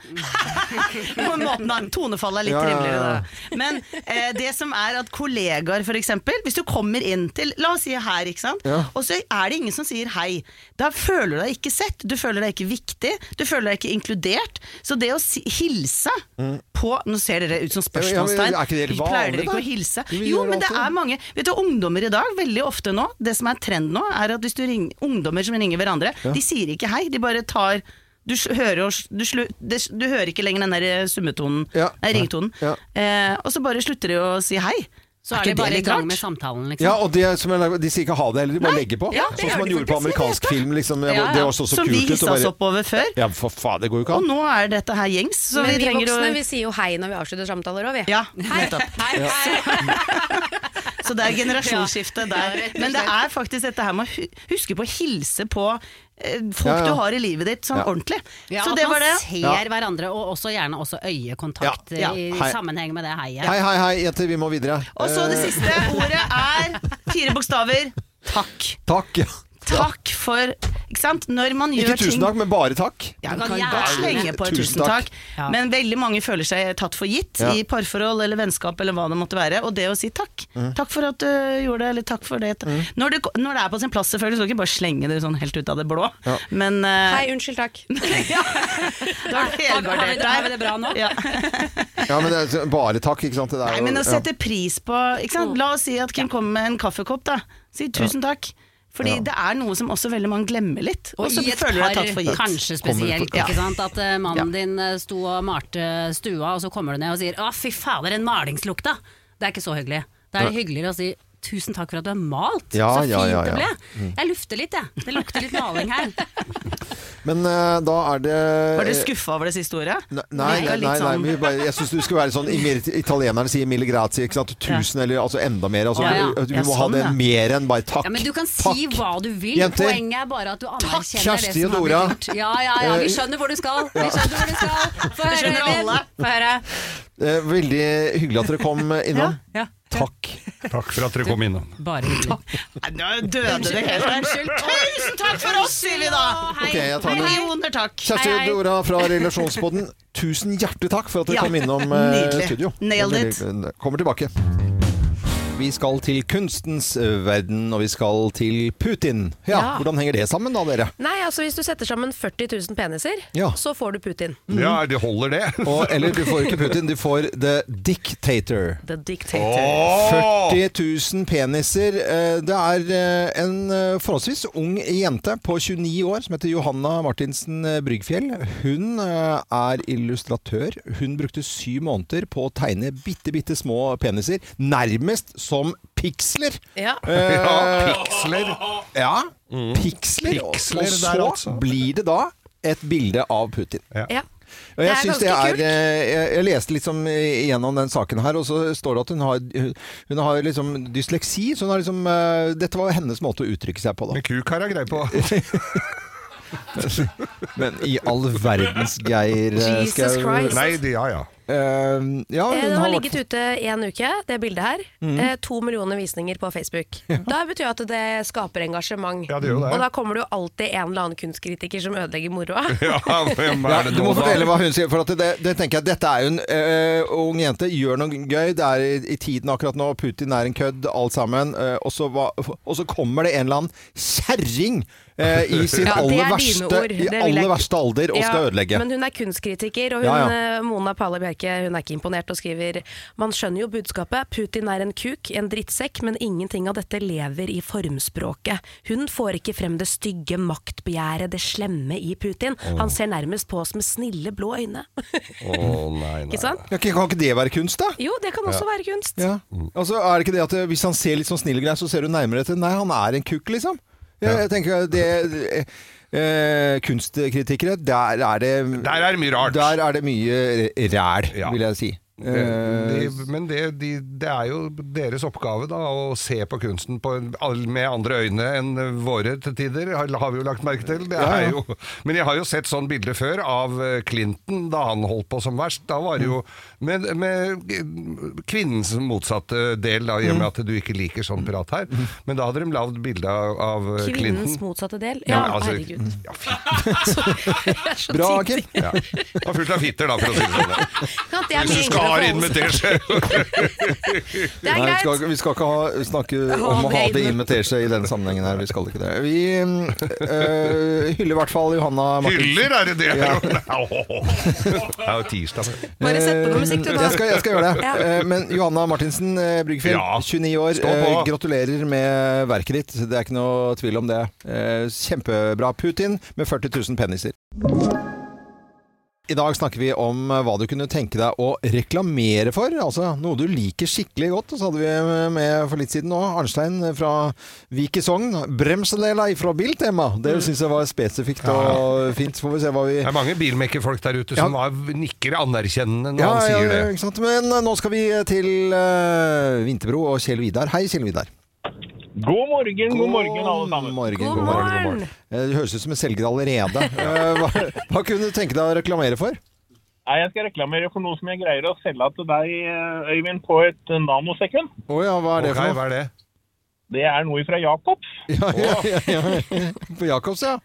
Speaker 5: På en måte, da. Tonefallet er litt
Speaker 1: Ja, ja, ja.
Speaker 5: triveligere da. Men eh, det som er at kollegaer, f.eks. Hvis du kommer inn til La oss si her, ikke sant.
Speaker 1: Ja.
Speaker 5: Og så er det ingen som sier hei. Da føler du deg ikke sett, du føler deg ikke viktig, du føler deg ikke inkludert. Så det å si, hilse
Speaker 1: Mm.
Speaker 5: på Nå ser dere ut som
Speaker 1: Ja, men
Speaker 5: spørsmålstegn.
Speaker 1: er ikke det helt
Speaker 5: Pleier
Speaker 1: vanlig,
Speaker 5: dere
Speaker 1: da?
Speaker 5: ikke å hilse?
Speaker 1: Vi
Speaker 5: Jo,
Speaker 1: gjør sånn.
Speaker 5: men det
Speaker 1: alltid det.
Speaker 5: er mange Vet du, ungdommer i dag, veldig ofte nå Det som er trend nå, er at hvis du ringer Ungdommer som ringer hverandre, de sier ikke hei De bare tar du, s- hører, og s- du, slu, det, s- du hører ikke lenger den der eh, summetonen
Speaker 1: Ja.
Speaker 5: Nei, ringtonen
Speaker 1: Ja.
Speaker 5: eh, Og så bare slutter de å si hei
Speaker 6: Så
Speaker 5: Er
Speaker 6: er,
Speaker 5: ikke
Speaker 6: det bare
Speaker 5: det
Speaker 6: i
Speaker 5: litt
Speaker 6: gang
Speaker 5: rart?
Speaker 6: med samtalen, liksom.
Speaker 1: Ja, og de, som jeg, lager- de sier ikke ha det heller, de bare legger på.
Speaker 5: ja, det
Speaker 1: sånn
Speaker 5: gjør
Speaker 1: som man
Speaker 5: de
Speaker 1: gjorde på
Speaker 5: faktisk, jeg
Speaker 1: amerikansk film. Liksom. Det var-
Speaker 6: ja.
Speaker 1: Det var så, så
Speaker 5: Som vi
Speaker 1: kult ut.
Speaker 5: hissa
Speaker 1: og
Speaker 5: oss
Speaker 1: bare-
Speaker 5: opp over før.
Speaker 1: Ja, for faen, det går jo ikke an.
Speaker 5: Og nå er dette her gjengs, så
Speaker 7: Men
Speaker 5: vi
Speaker 7: vi
Speaker 5: trenger å
Speaker 7: voksne vi sier jo hei når vi avslutter samtaler òg, vi.
Speaker 5: Ja, nettopp. Så det er generasjonsskifte der. Men det er faktisk dette her med å hu- huske på å hilse på eh, folk
Speaker 1: Ja, ja.
Speaker 5: du har i livet ditt, sånn
Speaker 1: Ja.
Speaker 5: ordentlig.
Speaker 6: Ja,
Speaker 5: Så
Speaker 6: at
Speaker 5: det
Speaker 6: man
Speaker 5: var det.
Speaker 6: ser
Speaker 1: Ja.
Speaker 6: hverandre, og også gjerne også øyekontakt
Speaker 5: Ja, ja.
Speaker 6: i
Speaker 1: Hei.
Speaker 6: sammenheng med det heiet.
Speaker 1: Hei, hei, hei, jenter, vi må videre.
Speaker 5: Og så det
Speaker 1: Eh,
Speaker 5: siste ordet er fire bokstaver. Takk.
Speaker 1: Takk. ja.
Speaker 5: Takk for Ikke sant? Når man gjør
Speaker 1: Ikke
Speaker 5: ting
Speaker 1: tusen takk, men bare takk.
Speaker 5: Ja,
Speaker 6: Du
Speaker 5: man
Speaker 6: kan
Speaker 5: kan
Speaker 6: gjerne-
Speaker 5: godt slenge på et
Speaker 1: Tusen
Speaker 5: tusen
Speaker 1: takk.
Speaker 5: takk, men veldig mange føler seg tatt for gitt
Speaker 1: Ja.
Speaker 5: i parforhold eller vennskap eller hva det måtte være, og det å si takk.
Speaker 1: Mhm.
Speaker 5: Takk for at du gjorde det, eller takk for det. Når, det når det er på sin plass, selvfølgelig, så skal du ikke bare slenge det sånn helt ut av det blå,
Speaker 1: Ja.
Speaker 5: men eh,
Speaker 7: Hei, unnskyld, takk.
Speaker 5: da har du
Speaker 6: Har vi- har vi
Speaker 5: helgardert
Speaker 6: det- har vi det
Speaker 5: deg.
Speaker 6: bra nå?
Speaker 5: Ja.
Speaker 1: Ja, men det er, så- bare takk, ikke sant. Det er
Speaker 5: Nei,
Speaker 1: jo-
Speaker 5: men å
Speaker 1: ja.
Speaker 5: sette pris på ikke sant?
Speaker 6: Mm.
Speaker 5: La oss si at Kim kommer med en kaffekopp, da. Si tusen takk. Fordi det er noe som også veldig mange glemmer litt, og,
Speaker 6: Og
Speaker 5: så
Speaker 6: i et
Speaker 5: føler du deg
Speaker 6: par,
Speaker 5: tatt for gitt.
Speaker 6: kanskje
Speaker 1: Kommer du på-
Speaker 6: spesielt,
Speaker 5: Ja.
Speaker 6: ikke sant? at eh, mannen din eh, sto og malte stua, og så kommer du ned og sier 'Å, fy fader, den malingslukta'. Det er ikke så hyggelig. Da er det hyggeligere å si 'Tusen takk for at du har malt,
Speaker 1: Ja,
Speaker 6: så fint
Speaker 1: ja, ja, Mm. ja.
Speaker 6: det ble'. Jeg lufter litt, jeg. Det lukter litt maling her.
Speaker 1: Men eh, da er det
Speaker 5: Var du skuffa over det siste ordet?
Speaker 1: Nei,
Speaker 5: Virka
Speaker 1: nei,
Speaker 5: litt
Speaker 1: nei, nei men
Speaker 5: sånn-
Speaker 1: vi bare, jeg syns du skulle være sånn imir- Italienerne sier 'mille grazie', ikke sant? Tusen eller altså enda mer. Altså,
Speaker 6: Ja, ja.
Speaker 1: Du,
Speaker 5: Ja,
Speaker 1: må ha
Speaker 5: sånn,
Speaker 1: det
Speaker 5: ja.
Speaker 1: mer enn bare takk.
Speaker 6: Ja, men du kan si
Speaker 1: takk.
Speaker 6: hva du vil,
Speaker 1: Jenter,
Speaker 6: poenget er bare at du anerkjenner
Speaker 1: Kjersti
Speaker 6: det
Speaker 1: og
Speaker 6: som har
Speaker 1: Dora. Eh,
Speaker 6: blitt gjort. Ja, ja, ja, vi skjønner hvor du skal. Vi skjønner hvor du skal. Få høre,
Speaker 5: skjønner
Speaker 6: Elin.
Speaker 5: alle.
Speaker 6: Få høre.
Speaker 1: Eh, Veldig hyggelig at dere kom innom.
Speaker 6: Ja.
Speaker 1: Takk.
Speaker 3: Takk for at dere kom innom.
Speaker 6: Bare hyggelig.
Speaker 5: Nei, nå døde det helt der. Tusen takk for oss, sier vi da!
Speaker 1: Ok, jeg tar den.
Speaker 5: Millioner takk.
Speaker 1: Kjersti og Dora fra Relasjonspodden, tusen hjertelig takk for at dere
Speaker 5: Ja,
Speaker 1: kom innom eh,
Speaker 5: nydelig.
Speaker 1: studio.
Speaker 5: Nailed it.
Speaker 1: Veldig- Kommer tilbake. Vi skal til kunstens eh, verden, og vi skal til Putin. Ja,
Speaker 2: Ja.
Speaker 1: Hvordan henger det sammen da, dere?
Speaker 2: Nei, altså hvis du setter sammen 40 000 peniser,
Speaker 1: Ja.
Speaker 2: så får du Putin.
Speaker 3: Ja, det holder det.
Speaker 1: Og, eller du får ikke Putin, du får The Dictator.
Speaker 2: The dictator.
Speaker 3: Åh!
Speaker 1: 40 000 peniser. Eh, Det er eh, en eh, forholdsvis ung jente på 29 år som heter Johanna Martinsen eh, Bryggfjell. Hun eh, er illustratør. Hun brukte syv måneder på å tegne bitte, bitte små peniser. Nærmest som piksler.
Speaker 2: Ja.
Speaker 3: Ja, piksler.
Speaker 1: Ja, piksler. Og-
Speaker 3: Piksler
Speaker 1: Og
Speaker 3: der,
Speaker 1: så
Speaker 3: altså.
Speaker 1: blir det da et bilde av Putin.
Speaker 2: Ja.
Speaker 1: Og jeg
Speaker 2: Det er
Speaker 1: synes det
Speaker 2: ganske
Speaker 1: er, eh, jeg, jeg leste liksom gjennom den saken her, og så står det at hun har, hun har liksom dysleksi. Så hun har liksom, eh, dette var hennes måte å uttrykke seg på, da.
Speaker 3: Men kuk har jeg greie på.
Speaker 1: Men i all verdens geir eh,
Speaker 2: Jesus
Speaker 1: skal jeg-
Speaker 2: Christ.
Speaker 3: Nei, de, ja ja.
Speaker 1: Eh, ja,
Speaker 2: Eh,
Speaker 1: hun
Speaker 2: Den har
Speaker 1: har
Speaker 2: ligget ute en uke, det bildet her.
Speaker 3: Mm.
Speaker 2: Eh, to millioner visninger på Facebook. Da betyr jo at det skaper engasjement.
Speaker 3: Ja, det gjør jo det.
Speaker 2: Og da kommer det jo alltid en eller annen kunstkritiker som ødelegger moroa.
Speaker 3: ja hvem
Speaker 1: ja,
Speaker 3: er det
Speaker 1: du må
Speaker 3: nå,
Speaker 1: fortelle
Speaker 3: da?
Speaker 1: hva hun sier, for at det, det tenker jeg, dette er jo en eh, ung jente, gjør noe gøy, det er i, i tiden akkurat nå, Putin er en kødd, alt sammen, eh, og, så hva, og så kommer det en eller annen kjerring eh, i sin
Speaker 2: Ja, det er
Speaker 1: aller,
Speaker 2: dine
Speaker 1: verste,
Speaker 2: ord.
Speaker 1: i
Speaker 2: Det vil
Speaker 1: aller
Speaker 2: jeg-
Speaker 1: verste alder og skal ødelegge.
Speaker 2: Men hun er kunstkritiker, og hun,
Speaker 1: Ja,
Speaker 2: eh, Mona Pahle Bjerke hun er ikke imponert og skriver Man skjønner jo budskapet. Putin er en kuk, en drittsekk, men ingenting av dette lever i formspråket. Hun får ikke frem det stygge maktbegjæret, det slemme i Putin. Han ser nærmest på oss med snille blå øyne.
Speaker 3: Å, nei, nei.
Speaker 2: ikke sant?
Speaker 1: Ja, kan ikke det være kunst, da?
Speaker 2: Jo, det kan også være kunst.
Speaker 1: Ja. Altså, er det ikke det at eh, hvis han ser litt sånn snill og grei, så ser du nærmere etter Nei, han er en kukk, liksom. Jeg, jeg tenker at det eh, Kunstkritikere, der er det
Speaker 3: Der er det mye rart.
Speaker 1: Der er det mye ræl,
Speaker 3: Ja.
Speaker 1: vil jeg si.
Speaker 3: Det,
Speaker 1: Eh,
Speaker 3: de, men det, de, det er jo deres oppgave da, å se på kunsten på, en- all- med andre øyne enn våre til tider, har, har vi jo lagt merke til. Det
Speaker 1: ja.
Speaker 3: er jo, men jeg har jo sett sånn bilde før av eh, Clinton da han holdt på som verst. Da var det jo med, med kvinnens motsatte del, da, i
Speaker 1: Mm.
Speaker 3: og med at du ikke liker sånn prat her. Men da hadde de lagd bilde av, av eh, Clinton.
Speaker 2: Kvinnens motsatte del.
Speaker 3: Ja,
Speaker 2: Ja,
Speaker 3: altså-
Speaker 2: herregud.
Speaker 3: Ja, fy-
Speaker 2: Det er så
Speaker 1: bra,
Speaker 2: tidlig.
Speaker 1: Kim.
Speaker 3: ja. Det var fullt av fitter, da, for å si det sånn.
Speaker 2: Ja, det er
Speaker 3: Hvis
Speaker 2: mye
Speaker 3: du
Speaker 2: enklere å forholde seg-
Speaker 3: skal inn med teskje.
Speaker 2: Det er
Speaker 1: Nei, vi,
Speaker 2: greit.
Speaker 1: skal, vi skal ikke ha, snakke om å ha det inn med teskje i denne sammenhengen her. Vi skal ikke det. Vi eh, hyller i hvert fall Johanna Martinsen.
Speaker 3: Hyller, er det det? Det er jo tirsdag.
Speaker 2: Bare sett på noe musikk, du,
Speaker 1: Eh,
Speaker 2: da.
Speaker 1: Jeg skal, jeg skal gjøre det.
Speaker 2: Ja.
Speaker 1: Eh, Men Johanna Martinsen eh, Bryggfjell,
Speaker 3: Ja.
Speaker 1: 29 år.
Speaker 3: Stå på.
Speaker 1: eh, Gratulerer med verket ditt. Det er ikke noe tvil om det. Eh, Kjempebra. Putin med 40 000 peniser. I dag snakker vi om eh, hva du kunne tenke deg å reklamere for, altså noe du liker skikkelig godt. Og så hadde vi eh, med for litt siden nå Arnstein fra Vik i Sogn. 'Bremsedeler ifra Biltema'. Det syns jeg var spesifikt og fint. Så får vi se hva vi
Speaker 3: Det er mange bilmekkerfolk der ute som var- nikker anerkjennende når
Speaker 1: ja,
Speaker 3: han
Speaker 1: ja,
Speaker 3: sier
Speaker 1: ja,
Speaker 3: det.
Speaker 1: ikke sant? Men eh, nå skal vi til eh, Vinterbro og Kjell Vidar. Hei, Kjell Vidar.
Speaker 8: God morgen, god morgen, alle sammen.
Speaker 1: morgen,
Speaker 2: God
Speaker 1: god morgen, god
Speaker 2: morgen.
Speaker 1: morgen. Eh, Du høres ut som en selger allerede. Eh, Hva, hva kunne du tenke deg å reklamere for?
Speaker 8: Nei, Jeg skal reklamere for noe som jeg greier å selge til deg, eh, Øyvind, på et eh, nanosekund.
Speaker 1: Å ja, hva er det
Speaker 3: Ok,
Speaker 1: for noe?
Speaker 3: hva er det?
Speaker 8: Det er noe fra Jacobs.
Speaker 1: Ja, ja, ja, ja. På Jacobs, ja.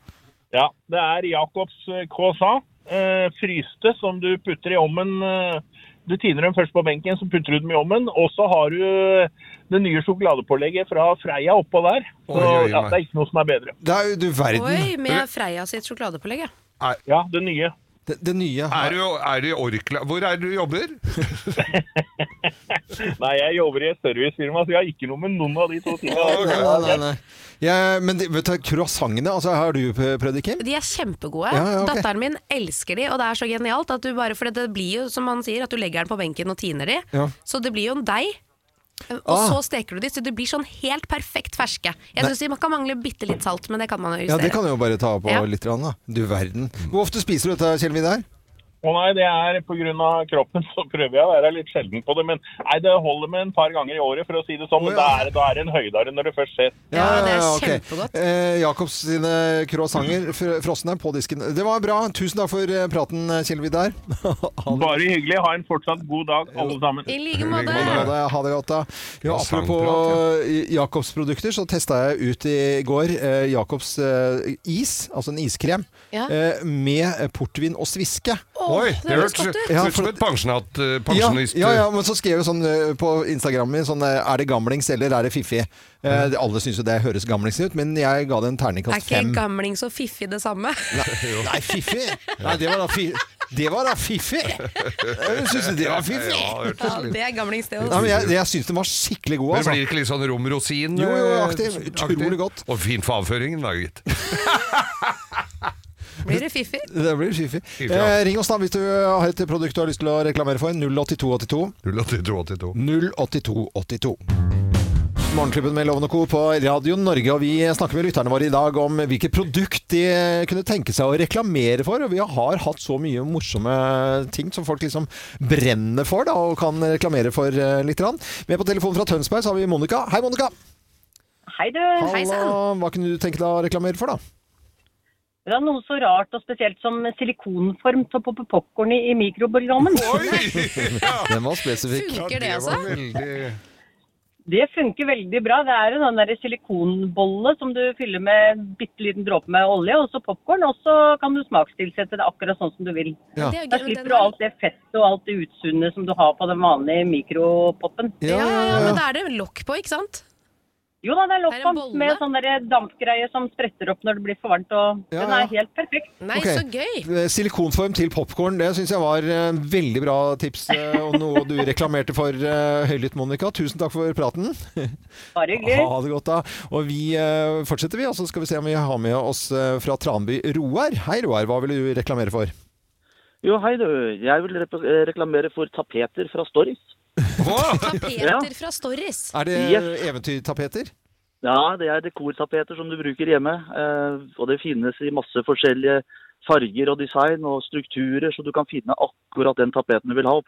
Speaker 8: Ja, det er Jacobs eh, KSA. Eh, fryste som du putter i ovnen. Eh, du tiner dem først på benken, så putter du dem i ovnen. Og så har du eh, det nye sjokoladepålegget fra Freia oppå der. Så
Speaker 3: Oi, oi, oi.
Speaker 8: ja, det er ikke noe som er bedre.
Speaker 1: Det er jo du verden.
Speaker 2: Oi, med Freia sitt sjokoladepålegg, ja.
Speaker 8: Ja, det nye.
Speaker 1: Det, det nye.
Speaker 3: Er du, er du i Orkla? Hvor er det du jobber?
Speaker 8: Nei, jeg jobber i et servicefirma, så Altså, jeg har ikke noe med noen av de to tingene. å
Speaker 1: Nei,
Speaker 8: gjøre.
Speaker 1: nei, nei. Ja, men de- vet du, croissantene, altså, har du pr- prøvd det, Kim?
Speaker 2: De er kjempegode.
Speaker 1: Ja, ja, ok.
Speaker 2: Datteren min elsker de, og det er så genialt at du bare For det blir jo, som han sier, at du legger den på benken og tiner de.
Speaker 1: Ja.
Speaker 2: Så det blir jo en deig. eh, Og
Speaker 1: Ah.
Speaker 2: så steker du de, så de blir sånn helt perfekt ferske. Jeg
Speaker 1: Nei.
Speaker 2: synes de man kan mangle bitte litt salt, men det kan man jo
Speaker 1: Ja,
Speaker 2: justere.
Speaker 1: det kan du jo bare ta på
Speaker 2: Ja.
Speaker 1: litt, grann, da. Du verden. Hvor ofte spiser du dette, Kjell Vidar?
Speaker 8: Å nei, det er pga. kroppen, så prøver jeg å være litt sjelden på det. Men nei, det holder med en par ganger i året, for å si det sånn. Men
Speaker 1: Å, ja.
Speaker 8: da er, da er det en høydare når det først skjer.
Speaker 2: Ja, det er
Speaker 1: ok.
Speaker 2: kjempegodt.
Speaker 1: Eh, Jacobs sine croissanter, fr- frosne, på disken. Det var bra. Tusen takk for eh, praten, Kjell Vidar. Ha det.
Speaker 8: Bare hyggelig. Ha en fortsatt god dag, alle sammen.
Speaker 2: I like
Speaker 3: I like
Speaker 2: måte.
Speaker 1: Ha det, ha det godt, da. Ja,
Speaker 3: Croissantprat,
Speaker 1: apropos Jacobs produkter, så testa jeg ut i går eh, Jacobs eh, is, altså en iskrem,
Speaker 2: Ja.
Speaker 1: eh, med portvin og sviske.
Speaker 3: Oi, det
Speaker 2: høres
Speaker 3: hørtes
Speaker 2: godt ut.
Speaker 1: Ja,
Speaker 3: ut som
Speaker 1: for-
Speaker 3: et pensjonat, eh,
Speaker 1: Ja,
Speaker 3: pensjonist.
Speaker 1: ja, ja, men så skrev jeg sånn eh, på Instagram min sånn eh, Er det gamlings eller er det fiffig? Eh, det- alle syns jo det høres gamlings ut, men jeg ga det en
Speaker 2: Er
Speaker 1: terningkast
Speaker 2: ikke
Speaker 1: fem.
Speaker 2: gamling så fiffig det samme?
Speaker 1: Nei, nei, fiffig! Nei, det var da, fi det var da fiffig! Jeg syns det var fiffig.
Speaker 3: Ja, det hørtes
Speaker 2: Ja,
Speaker 3: litt-
Speaker 2: det er gamlings, det
Speaker 1: Nei,
Speaker 2: også.
Speaker 1: men jeg jeg syns den var skikkelig god,
Speaker 3: Men
Speaker 1: altså.
Speaker 3: blir det ikke litt sånn rom rosin?
Speaker 1: Jo, jo,
Speaker 3: eh,
Speaker 1: aktiv. Utrolig godt.
Speaker 3: Og fint for avføringen, da, gitt.
Speaker 2: Blir det fiffig?
Speaker 1: Det blir fiffig.
Speaker 3: Fiffig, ja.
Speaker 1: Eh, ring oss da hvis du har et produkt du har lyst til å reklamere for. 08282
Speaker 3: 08282.
Speaker 1: 08282. Morgenklubben med Lovende Co. på Radio Norge, og vi snakker med lytterne våre i dag om hvilke produkt de kunne tenke seg å reklamere for. Og vi har hatt så mye morsomme ting som folk liksom brenner for da, og kan reklamere for eh, litt. grann. Med på telefonen fra Tønsberg så har vi Monica. Hei, Monica!
Speaker 9: Hei, du.
Speaker 2: Hei sann.
Speaker 1: Hallo. Hva kunne du tenke deg å reklamere for, da?
Speaker 9: Det var noe så rart og spesielt som silikonform til å poppe popkorn i, i mikrobølgeovnen.
Speaker 3: Oi! Ja,
Speaker 1: Den var spesifikk.
Speaker 2: Funker det,
Speaker 3: var
Speaker 2: altså?
Speaker 3: veldig-
Speaker 9: Det funker veldig bra. Det er en sånn der silikonbolle som du fyller med en bitte liten dråpe med olje, og så popkorn. Og så kan du smakstilsette det akkurat sånn som du vil.
Speaker 2: Det
Speaker 1: Ja.
Speaker 2: er jo
Speaker 9: Da
Speaker 2: gøy, men
Speaker 9: slipper
Speaker 2: den
Speaker 9: du
Speaker 2: er-
Speaker 9: alt det fettet og alt det utsunnet som du har på den vanlige mikropoppen.
Speaker 2: Ja, ja, ja, men da er det lokk på, ikke sant?
Speaker 9: Jo da, det er
Speaker 2: Det er en
Speaker 9: loppkamp
Speaker 2: bolle.
Speaker 9: med sånn der dampgreie som spretter opp når det blir for varmt. Og
Speaker 1: Ja,
Speaker 9: den
Speaker 1: ja.
Speaker 9: er helt perfekt.
Speaker 2: Nei,
Speaker 1: Ok.
Speaker 2: så gøy!
Speaker 1: Eh, Silikonform til popkorn, det syns jeg var eh, veldig bra tips. eh, og noe du reklamerte for eh, høylytt, Monica. Tusen takk for praten.
Speaker 9: Bare hyggelig.
Speaker 1: Ha det godt, da. Og vi eh, fortsetter, vi. Og så skal vi se om vi har med oss eh, fra Tranby Roar. Hei, Roar. Hva ville du reklamere for?
Speaker 10: Jo, hei du. Jeg vil rep- eh, reklamere for tapeter fra Storis.
Speaker 3: Å,
Speaker 2: Tapeter fra Storris.
Speaker 1: Er det
Speaker 10: Yes.
Speaker 1: eventyrtapeter?
Speaker 10: Ja, det er dekortapeter som du bruker hjemme. eh, Og det finnes i masse forskjellige farger og design og strukturer, så du kan finne akkurat den tapeten du vil ha, og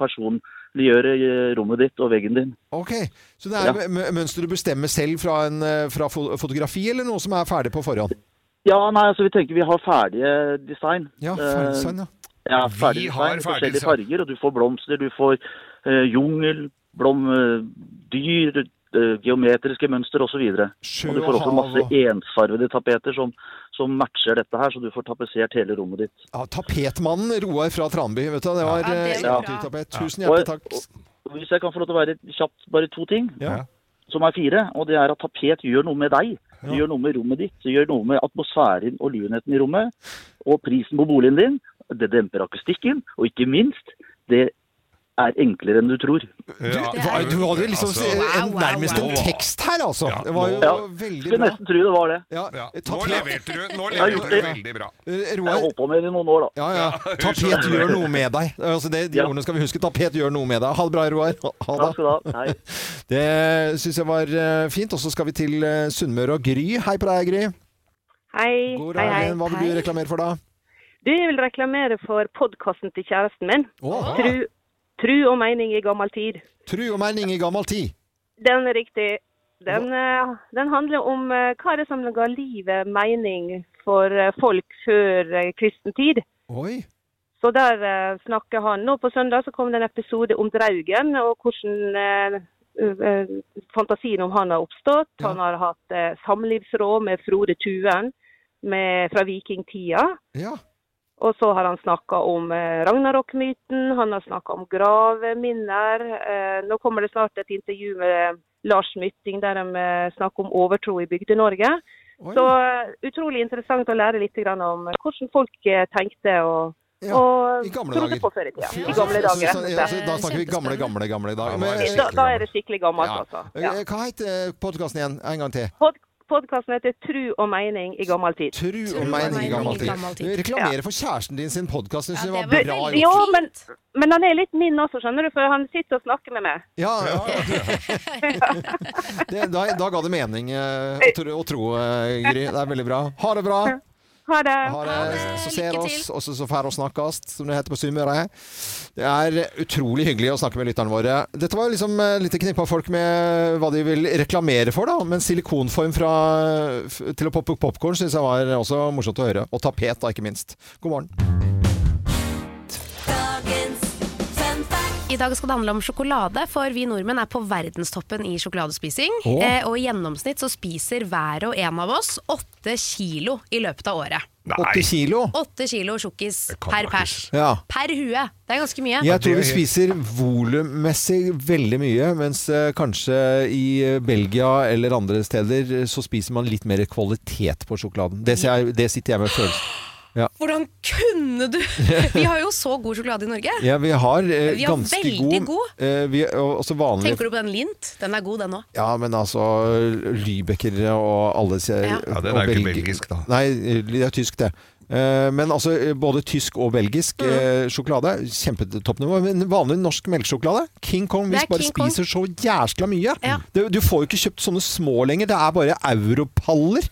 Speaker 10: personliggjøre eh, rommet ditt og veggen din.
Speaker 1: Ok. Så det er mø- mønster du bestemmer selv fra, en, eh, fra fo fotografi, eller noe som er ferdig på forhånd?
Speaker 10: Ja, nei, altså vi tenker vi har ferdige design.
Speaker 1: Ja,
Speaker 10: Eh,
Speaker 1: ferdig sånn, ja.
Speaker 10: Ja,
Speaker 3: Vi
Speaker 10: ferdig
Speaker 3: har
Speaker 10: design,
Speaker 3: ferdig
Speaker 10: forskjellige
Speaker 3: design.
Speaker 10: farger, og du får blomster, du får eh, jungel, blom, eh, dyr, eh, geometriske mønster osv. Og,
Speaker 1: Sjø
Speaker 10: og du får
Speaker 1: og
Speaker 10: også
Speaker 1: hav
Speaker 10: masse
Speaker 1: og-
Speaker 10: ensfarvede tapeter som, som matcher dette her, så du får tapetsert hele rommet ditt.
Speaker 1: ja. Tapetmannen Roar fra Tranby, vet du. Det var
Speaker 2: Ja, det
Speaker 1: eh,
Speaker 2: var bra.
Speaker 1: eventyrtapet. Tusen
Speaker 10: Og,
Speaker 1: hjertelig takk.
Speaker 10: og hvis jeg kan få lov til å være kjapt, bare to ting,
Speaker 1: Ja.
Speaker 10: som er fire. Og det er at tapet gjør noe med deg. Det gjør noe med rommet ditt, det gjør noe med atmosfæren og lunheten i rommet. Og prisen på boligen din. Det demper akustikken, og ikke minst, det er enklere enn du tror.
Speaker 1: Du, hva- du hadde liksom en, nærmest en tekst her, altså. Det var jo
Speaker 10: Altså- Ja.
Speaker 1: veldig
Speaker 10: Skulle
Speaker 1: bra.
Speaker 10: nesten tro det var det.
Speaker 1: Ja. eh,
Speaker 3: Nå leverte du, nå
Speaker 10: Jeg har
Speaker 3: leverte
Speaker 10: gjort
Speaker 3: du
Speaker 10: det.
Speaker 3: veldig bra.
Speaker 10: Jeg har holdt på med det i noen år, da.
Speaker 1: Ja, ja. Tapet gjør noe med deg. Altså det, de ordene skal vi huske. Tapet gjør noe med deg. Ha det bra, Roar. Ha- Ha det.
Speaker 10: Takk skal du ha. Hei.
Speaker 1: Det syns jeg var eh, fint. Og så skal vi til eh, Sunnmøre og Gry. Hei på deg, Gry.
Speaker 11: Hei.
Speaker 1: God
Speaker 11: hei, hei.
Speaker 1: dagen. Hva vil du reklamere for da?
Speaker 11: Du jeg vil reklamere for podkasten til kjæresten min.
Speaker 1: Åh.
Speaker 11: Tru, tru og mening i gammel tid.
Speaker 1: Tru og mening i gammel tid.
Speaker 11: Den er riktig. Den, eh, den handler om eh, hva er det som ga livet mening for eh, folk før eh, kristen tid.
Speaker 1: Oi.
Speaker 11: Så der eh, snakker han. Nå på søndag så kom det en episode om Draugen og hvordan eh, ø- ø- fantasien om han har oppstått. Han har hatt eh, samlivsråd med Frode Tuen med, fra vikingtida.
Speaker 1: Ja.
Speaker 11: Og så har han snakka om eh, Ragnarok-myten, han har snakka om gravminner. Eh, nå kommer det snart et intervju med Lars Mytting der de eh, snakker om overtro i Bygde-Norge.
Speaker 1: Oi.
Speaker 11: Så eh, utrolig interessant å lære litt grann om hvordan folk eh, tenkte og, og trodde på før i tida. I gamle dager. rett og
Speaker 1: Så- altså,
Speaker 11: slett.
Speaker 1: da snakker vi gamle, gamle, gamle i dag.
Speaker 11: Da, da er det skikkelig gammelt, altså.
Speaker 1: Eh, Hva heter podkasten igjen? En gang til.
Speaker 11: Pod Podkasten heter 'Tru og mening i gammel tid'.
Speaker 1: Tru og mening i gammel tid. Reklamere for kjæresten din sin podkast syns jeg var
Speaker 11: Men-
Speaker 1: bra
Speaker 11: Ja,
Speaker 1: gjort.
Speaker 11: men, men han er litt min også, skjønner du, for han sitter og snakker med meg.
Speaker 1: Ja, det, da, da ga det mening eh, å tro, å tro eh, Gry. Det er veldig bra. Ha det bra.
Speaker 11: Ha det.
Speaker 1: Ha det. Så ser oss, og så så fær oss snakkes, som det heter på Sunnmøre. Det er utrolig hyggelig å snakke med lytterne våre. Dette var liksom eh, litt knippa folk med hva de vil reklamere for, da. Men silikonform fra, f- til å poppe popkorn syns jeg var også morsomt å høre. Og tapet, da, ikke minst. God morgen.
Speaker 2: I dag skal det handle om sjokolade, for vi nordmenn er på verdenstoppen i sjokoladespising.
Speaker 12: Åh.
Speaker 2: Eh, og i gjennomsnitt så spiser hver og en av oss åtte kilo i løpet av året.
Speaker 1: Åtte kilo.
Speaker 2: Åtte kilo tjukkis per pers.
Speaker 1: Ja.
Speaker 2: Per hue. Det er ganske mye.
Speaker 1: Jeg tror vi spiser volummessig veldig mye, mens eh, kanskje i eh, Belgia eller andre steder eh, så spiser man litt mer kvalitet på sjokoladen. Det, ser jeg, det sitter jeg med følelsen. Ja.
Speaker 2: Hvordan kunne du Vi har jo så god sjokolade i Norge.
Speaker 1: ja, vi har eh,
Speaker 2: Vi har
Speaker 1: ganske
Speaker 2: veldig god.
Speaker 1: eh, vi, og, også vanlig
Speaker 2: Tenker du på den Lint? Den er god, den òg.
Speaker 1: Ja, men altså Lybecker og alle
Speaker 2: Ja.
Speaker 3: Ja, den er jo ikke belgisk,
Speaker 1: da. Nei, det er tysk, det. Eh, Men altså, både tysk og belgisk
Speaker 2: Mm.
Speaker 1: eh, sjokolade, kjempetoppnivå. Men vanlig norsk melkesjokolade, King Kong,
Speaker 2: Det
Speaker 1: vi
Speaker 2: er
Speaker 1: bare
Speaker 2: King Kong.
Speaker 1: spiser så jæskla mye. Du, du får jo ikke kjøpt sånne små lenger, det er bare europaller.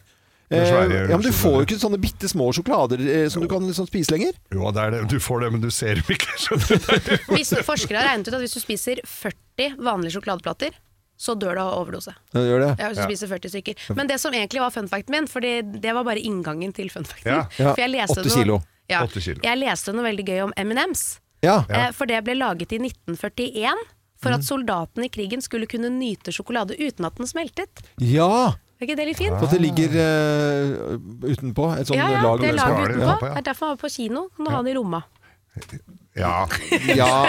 Speaker 3: Det er
Speaker 1: Eh,
Speaker 3: svære
Speaker 1: Ja, men du får jo
Speaker 3: sjokolader.
Speaker 1: ikke sånne bitte små sjokolader eh, som du kan liksom spise lenger.
Speaker 3: Jo, det er det. Du får det, men du ser dem ikke. skjønner du.
Speaker 2: Hvis forskere har regnet ut at hvis du spiser 40 vanlige sjokoladeplater, så dør du av overdose.
Speaker 1: Ja, det gjør det.
Speaker 2: Ja, hvis du spiser 40 stykker. Men det som egentlig var fun facten min, for det var bare inngangen til fun facten.
Speaker 1: Ja. Ja.
Speaker 2: For jeg leste
Speaker 1: Åtte
Speaker 2: noe-
Speaker 1: kilo.
Speaker 2: Ja,
Speaker 1: Åtte kilo.
Speaker 2: jeg leste noe veldig gøy om M&M's.
Speaker 1: Ja. Mm.
Speaker 2: Eh, For det ble laget i 1941 for at soldatene i krigen skulle kunne nyte sjokolade uten at den smeltet.
Speaker 1: Ja!
Speaker 2: Er ikke det litt fint?
Speaker 1: For at det ligger eh, utenpå. Et sånt liksom.
Speaker 2: ja, ja,
Speaker 1: lag
Speaker 2: det
Speaker 1: med
Speaker 2: er laget
Speaker 1: sjokolade.
Speaker 2: utenpå. Det er derfor man var på kino. Kan du ha den i lomma?
Speaker 3: Ja.
Speaker 1: Ja.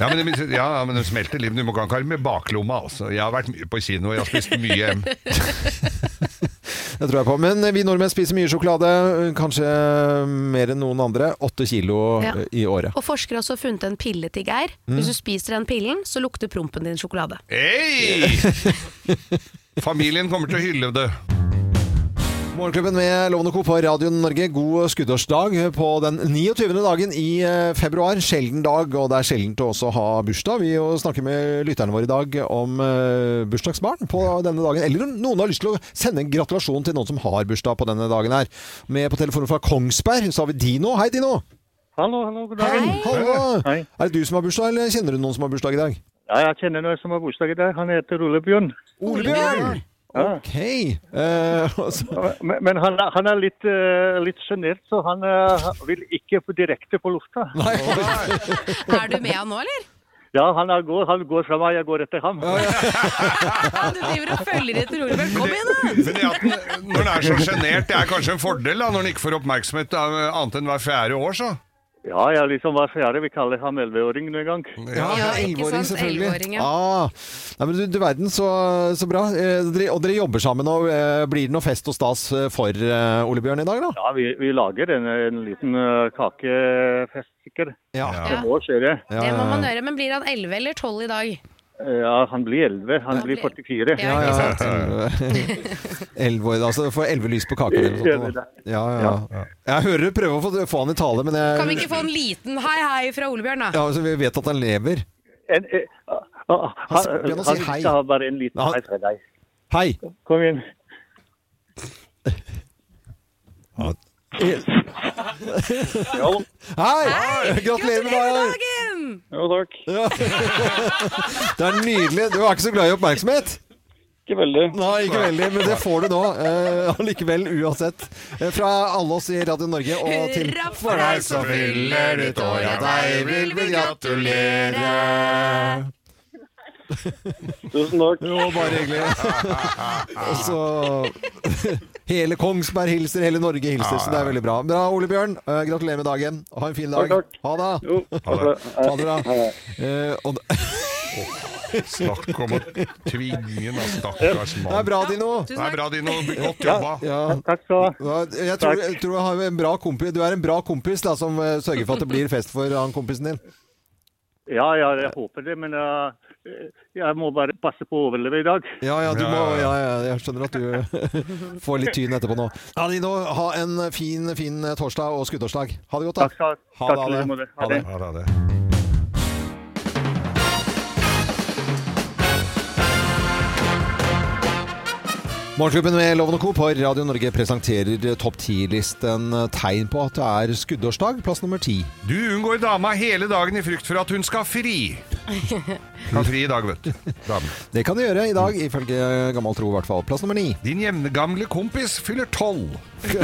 Speaker 3: Ja, men, det- ja, men det smelter livet. Du må ikke ha den med baklomma, altså. Jeg har vært mye på kino, jeg har spist mye M.
Speaker 1: Det tror jeg på. Men eh, vi nordmenn spiser mye sjokolade, eh, kanskje mer enn noen andre. Åtte kilo
Speaker 2: Ja.
Speaker 1: eh, i året.
Speaker 2: Og forskere har også funnet en pille til Geir. Hvis
Speaker 1: Mm.
Speaker 2: du spiser den pillen, så lukter prompen din sjokolade.
Speaker 3: Hei! Familien kommer til å hylle det.
Speaker 1: Morgenklubben med Lovende Co. på Radio Norge, god skuddårsdag på den 29. dagen i eh, februar. Sjelden dag, og det er sjeldent å også ha bursdag. Vi jo snakker med lytterne våre i dag om eh, bursdagsbarn på denne dagen. Eller om noen har lyst til å sende en gratulasjon til noen som har bursdag på denne dagen her. Med på telefonen fra Kongsberg så har vi Dino. Hei, Dino!
Speaker 13: Hallo, hallo, god dag.
Speaker 1: Hallo! Er det du som har bursdag, eller kjenner du noen som har bursdag i dag?
Speaker 13: Ja, jeg kjenner noen som har bursdag i dag. Han heter Ole Bjørn.
Speaker 1: Ole Bjørn!
Speaker 13: Ok.
Speaker 3: Eh,
Speaker 13: Men, men han, er- han er litt, uh, litt sjenert, så han eh, vil ikke på direkte på lufta.
Speaker 2: Er du med han nå, eller?
Speaker 13: Ja, han, er, går, han går fra meg, jeg går etter ham.
Speaker 2: Du driver og følger etter Ole Bjørn. Kom igjen, da!
Speaker 3: Men det at den, når den er så sjenert, det er kanskje en fordel da, når den ikke får oppmerksomhet av eh, annet enn hver fjerde år, så.
Speaker 13: Ja, jeg er liksom hver fjerde. Vi kaller ham elleveåring en gang.
Speaker 1: Ja, ja, elleveåring selvfølgelig.
Speaker 13: elleveåring, ja.
Speaker 1: Ah. Nei, men du, du verden, så, så bra. Eh, dere, og dere jobber sammen, og eh, blir det noe fest og stas eh, for eh, Ole Bjørn i dag, da?
Speaker 13: Ja, vi, vi lager en, en liten eh, kakefest stykker.
Speaker 1: Ja.
Speaker 13: Det må skje, det.
Speaker 1: Ja,
Speaker 2: Det må man gjøre, men blir han 11 eller 12 i dag?
Speaker 13: Ja, han blir 11. Han blir 44.
Speaker 1: Ja, ja. Elleve år, altså. Får elleve lys på kaken eller noe sånt. da. Ja, ja, ja. Jeg hører du prøver å få, få han i tale, men jeg
Speaker 2: Kan vi ikke få en liten hei hei fra Ole Bjørn, da?
Speaker 1: ja, altså, Vi vet at han lever.
Speaker 13: En, eh,
Speaker 1: Han
Speaker 13: ah, han
Speaker 1: sier-
Speaker 13: han,
Speaker 1: Bjørn, han
Speaker 13: han
Speaker 1: sier hei.
Speaker 13: skal ha bare en liten hei fra deg.
Speaker 1: Hei!
Speaker 13: Kom inn.
Speaker 1: Hei! Gratulerer med dagen!
Speaker 2: dagen!
Speaker 13: Jo, takk.
Speaker 1: Det er nydelig. Du er ikke så glad i oppmerksomhet?
Speaker 13: Ikke veldig.
Speaker 1: Nei, ikke veldig, men det får du nå. eh, Allikevel, uansett. Eh, Fra alle oss i Radio Norge og til
Speaker 2: Hurra for deg som fyller ditt år, ja, deg vil vi
Speaker 1: gratulere.
Speaker 13: Tusen takk.
Speaker 1: Jo, bare hyggelig. Og så Hele Kongsberg hilser, hele Norge hilser, så det er veldig bra. Bra, Ole Bjørn. Eh, Gratulerer med dagen. Ha en fin dag.
Speaker 13: Takk,
Speaker 1: Ha det.
Speaker 3: Ha det.
Speaker 1: Ha det bra. Eh, og
Speaker 3: Snakk om å tvinge en stakkars mann.
Speaker 1: Det er bra, Dino.
Speaker 3: Det er bra, Dino. Godt jobba.
Speaker 13: Takk skal du
Speaker 1: ha. Jeg tror, jeg tror jeg har en bra kompis. Du er en bra kompis da, som eh, sørger for at det blir fest for han kompisen din.
Speaker 13: Ja, ja, jeg håper det, men eh, jeg må bare passe på å overleve i dag.
Speaker 1: Ja, ja, du må, ja, ja, jeg skjønner at du får litt tyn etterpå nå. Ja, Dino, ha en fin, fin eh, torsdag og skuddorsdag. Ha det godt, da.
Speaker 13: Takk skal-
Speaker 1: Ha
Speaker 13: takk i like måte. Ha
Speaker 1: Ha det.
Speaker 13: det.
Speaker 3: Ha det.
Speaker 1: Morgenklubben med Loven og Co. på Radio Norge presenterer eh, topp ti-listen eh, tegn på at det er skuddårsdag, plass nummer ti.
Speaker 3: Du unngår dama hele dagen i frykt for at hun skal fri. Hun har fri i dag, vet du. Damen.
Speaker 1: Det kan du gjøre i dag, ifølge gammel tro i hvert fall. Plass nummer ni.
Speaker 3: Din jevngamle kompis fyller tolv.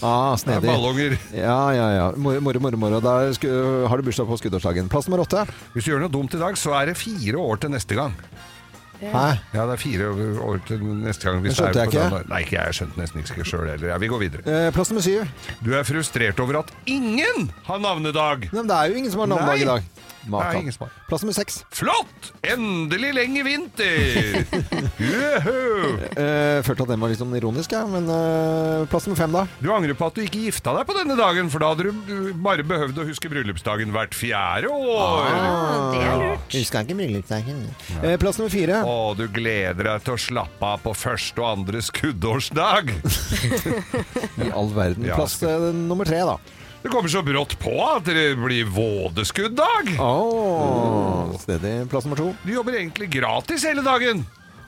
Speaker 1: Ah, snedig.
Speaker 3: Det er ballonger.
Speaker 1: Ja, ja, ja. Moro, moro, moro. moro. Der sku, har du bursdag på skuddårsdagen. Plass nummer åtte.
Speaker 3: Hvis du gjør noe dumt i dag, så er det fire år til neste gang.
Speaker 1: Hæ?
Speaker 3: Ja, det er fire år til neste gang. hvis
Speaker 1: Det skjønte
Speaker 3: det
Speaker 1: jeg
Speaker 3: er på
Speaker 1: ikke.
Speaker 3: den- Nei, ikke jeg skjønte nesten ikke sjøl heller. Ja, vi går videre.
Speaker 1: Eh, plass nummer syv.
Speaker 3: Du er frustrert over at ingen har navnedag.
Speaker 1: Nei, men det er jo ingen som har navnedag i
Speaker 3: Nei.
Speaker 1: dag. Makan.
Speaker 3: Det er ingen som har.
Speaker 1: Plass nummer seks.
Speaker 3: Flott! Endelig lenge vinter! Juhu!
Speaker 1: Eh, følte at den var litt sånn ironisk, jeg. Men eh, plass nummer fem, da?
Speaker 3: Du angrer på at du ikke gifta deg på denne dagen, for da hadde du du bare behøvd å huske bryllupsdagen hvert fjerde år.
Speaker 1: Ah, Huska ikke bryllupsdagen. Eh, plass nummer fire.
Speaker 3: Å, du gleder deg til å slappe av på første og andre skuddårsdag.
Speaker 1: I all verden.
Speaker 3: Ja.
Speaker 1: Plass eh, nummer tre, da.
Speaker 3: Det kommer så brått på at det blir vådeskudddag.
Speaker 1: Oh, Snedig. Plass nummer to.
Speaker 3: Du jobber egentlig gratis hele dagen.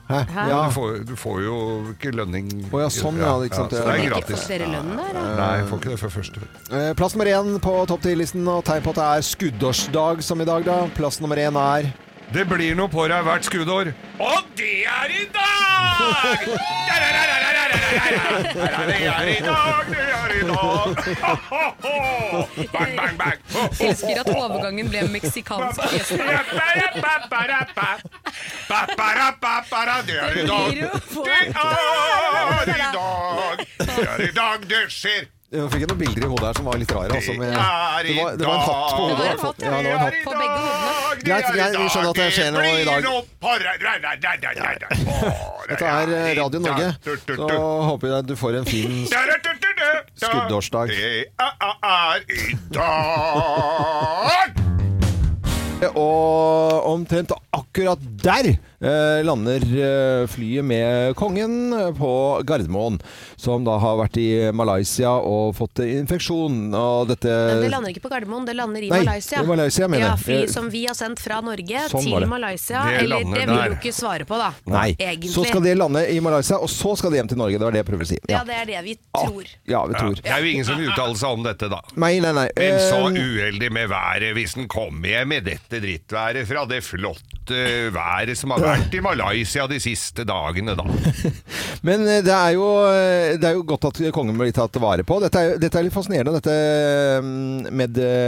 Speaker 1: Hæ? Ja.
Speaker 3: Du, får, du får jo ikke lønning
Speaker 1: Å ja, sånn, ja, ikke sant.
Speaker 3: så det er
Speaker 1: Ikke
Speaker 3: gratis.
Speaker 1: får dere lønn der, da?
Speaker 3: Nei, jeg får ikke det før første.
Speaker 1: Eh, plass nummer én på topp ti-listen, og tegn på at det er skuddårsdag som i dag, da. Plass nummer én er
Speaker 3: Det blir noe på deg hvert skuddår. Og det er i dag! Det er i dag, det er i dag! Bang, bang, bang!
Speaker 2: Elsker at overgangen ble meksikansk.
Speaker 3: Det er i dag, det er i dag! Det er i dag det skjer!
Speaker 1: Jeg fikk noen bilder i hodet her som var litt rare. Altså, med,
Speaker 3: Det er i
Speaker 1: det, var, det var en hatt på hodet. i hvert fall. Ja, det var en hatt.
Speaker 2: På begge hodene.
Speaker 1: Greit, greit, vi skjønner at det skjer noe i dag. Dette er eh, Radio Norge, så håper jeg at du får en fin skuddårsdag.
Speaker 3: Det er i dag!
Speaker 1: Og omtrent akkurat der eh, lander eh, flyet med kongen på Gardermoen, som da har vært i Malaysia og fått infeksjon. Og dette
Speaker 2: Men det lander ikke på Gardermoen, det lander i
Speaker 1: Nei,
Speaker 2: Malaysia.
Speaker 1: i Malaysia, mener jeg.
Speaker 2: ja, fly som vi har sendt fra Norge
Speaker 1: Sånn
Speaker 2: til
Speaker 1: var det.
Speaker 2: Malaysia.
Speaker 1: Det
Speaker 2: eller
Speaker 1: lander
Speaker 2: det vil
Speaker 1: der.
Speaker 2: du ikke svare på, da.
Speaker 1: Nei.
Speaker 2: Egentlig.
Speaker 1: Så skal de lande i Malaysia, og så skal de hjem til Norge. Det var det jeg prøvde å si.
Speaker 2: Ja, det er det vi
Speaker 1: Ah,
Speaker 2: tror.
Speaker 1: Ja, vi tror.
Speaker 3: Det er jo ingen som uttaler seg om dette, da.
Speaker 1: Nei, nei, nei.
Speaker 3: Men så
Speaker 1: Eh,
Speaker 3: uheldig med været hvis den kommer hjem med dette drittværet fra det flotte været som har vært i Malaysia de siste dagene, da.
Speaker 1: Men eh, det er, jo, eh, det er jo godt at kongen blir tatt vare på. Dette er, jo- dette er litt fascinerende, dette mm,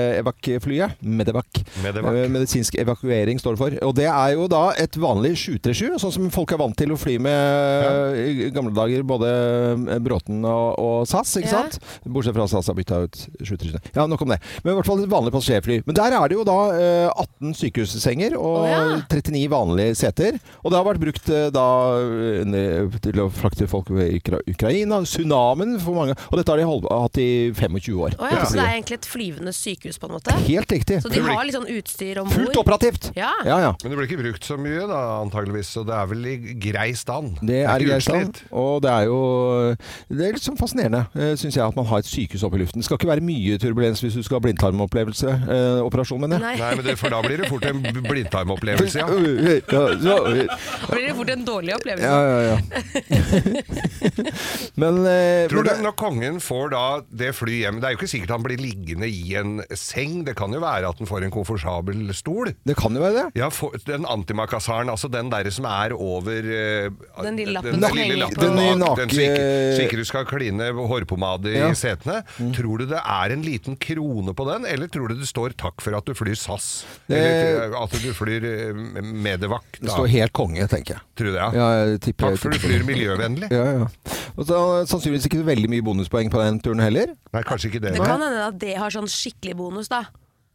Speaker 1: Medevac-flyet. Medevac.
Speaker 3: Medevac.
Speaker 1: Eh, Medisinsk evakuering står det for. Og det er jo da et vanlig 737, sånn som folk er vant til å fly med eh, i gamle dager. Både mm, Bråten og, og SAS, ikke
Speaker 12: Ja.
Speaker 1: sant? Bortsett fra SAS har bytta ut 737. Ja, nok om det. Men i hvert fall et vanlig passasjerfly. Men der er det jo da eh, 18 sykehussenger og 39 vanlige seter. steder. Og det har vært brukt eh, da eh, ned til å frakte folk ved Ukra Ukraina. Tsunamien for mange. Og dette har de holdt, hatt i 25 år.
Speaker 2: Å ja, Så det er egentlig et flyvende sykehus, på en måte?
Speaker 1: Helt riktig.
Speaker 2: Så de har litt sånn utstyr om bord?
Speaker 1: Fullt operativt!
Speaker 2: Ja.
Speaker 3: Men det blir ikke brukt så mye, da, antageligvis, så det er vel i grei stand.
Speaker 1: Det er
Speaker 3: ikke
Speaker 1: Geirstad, og det er jo Det er litt sånn fascinerende, syns jeg, at man har et sykehus oppe i luften. Det skal ikke være mye turbulens hvis du skal ha blindtarmopplevelse. Eh, operasjon, mener jeg.
Speaker 3: Nei. Nei, men det- for da blir det fort en b- blindtarmopplevelse, ja.
Speaker 1: ja.
Speaker 2: Da blir det fort en dårlig opplevelse.
Speaker 1: Ja, ja, ja. Men eh,
Speaker 3: Tror
Speaker 1: men
Speaker 3: du
Speaker 1: det-
Speaker 3: når kongen får da det flyet hjem Det er jo ikke sikkert han blir liggende i en seng. Det kan jo være at han får en komfortabel stol.
Speaker 1: Det kan jo være det.
Speaker 3: Ja, for, Den antimacassaren, altså den derre som er over eh,
Speaker 2: Den lille lappen
Speaker 3: den,
Speaker 2: som
Speaker 3: den lille
Speaker 2: henger
Speaker 3: lappen
Speaker 2: på- Den
Speaker 1: i
Speaker 3: bak,
Speaker 1: nake-
Speaker 3: den som ikke, så ikke du skal kline hårpomade
Speaker 1: eh, Ja. Mm.
Speaker 3: i setene. Tror du det er en liten krone på den, eller tror du det står 'takk for at du flyr SAS'? Eller eh, at du flyr eh, Medevac?
Speaker 1: Det
Speaker 3: da?
Speaker 1: står helt konge, tenker jeg.
Speaker 3: Tror du det, ja?
Speaker 1: jeg tipper-
Speaker 3: Takk for du
Speaker 1: tipper det.
Speaker 3: flyr miljøvennlig.
Speaker 1: Ja, ja. Og så, sannsynligvis ikke så veldig mye bonuspoeng på den turen heller.
Speaker 3: Nei, kanskje ikke
Speaker 2: Det kan hende at det har sånn skikkelig bonus, da.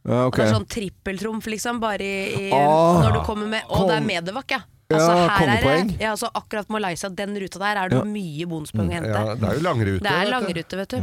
Speaker 1: Ja,
Speaker 2: At
Speaker 1: ok.
Speaker 2: det er sånn trippeltrumf, liksom, bare i, i
Speaker 1: Ah.
Speaker 2: når du kommer med Å, det er
Speaker 1: Kom-
Speaker 2: Medevac, ja.
Speaker 1: Ja,
Speaker 2: Altså, her er det,
Speaker 1: kongepoeng.
Speaker 2: ja, altså, akkurat Malaysia, den ruta der, er det
Speaker 1: Ja. Mm,
Speaker 2: mye bonuspoeng å hente.
Speaker 1: Ja, det er jo langrute,
Speaker 2: Det er
Speaker 1: vet du. Mm.
Speaker 2: langrute, vet du.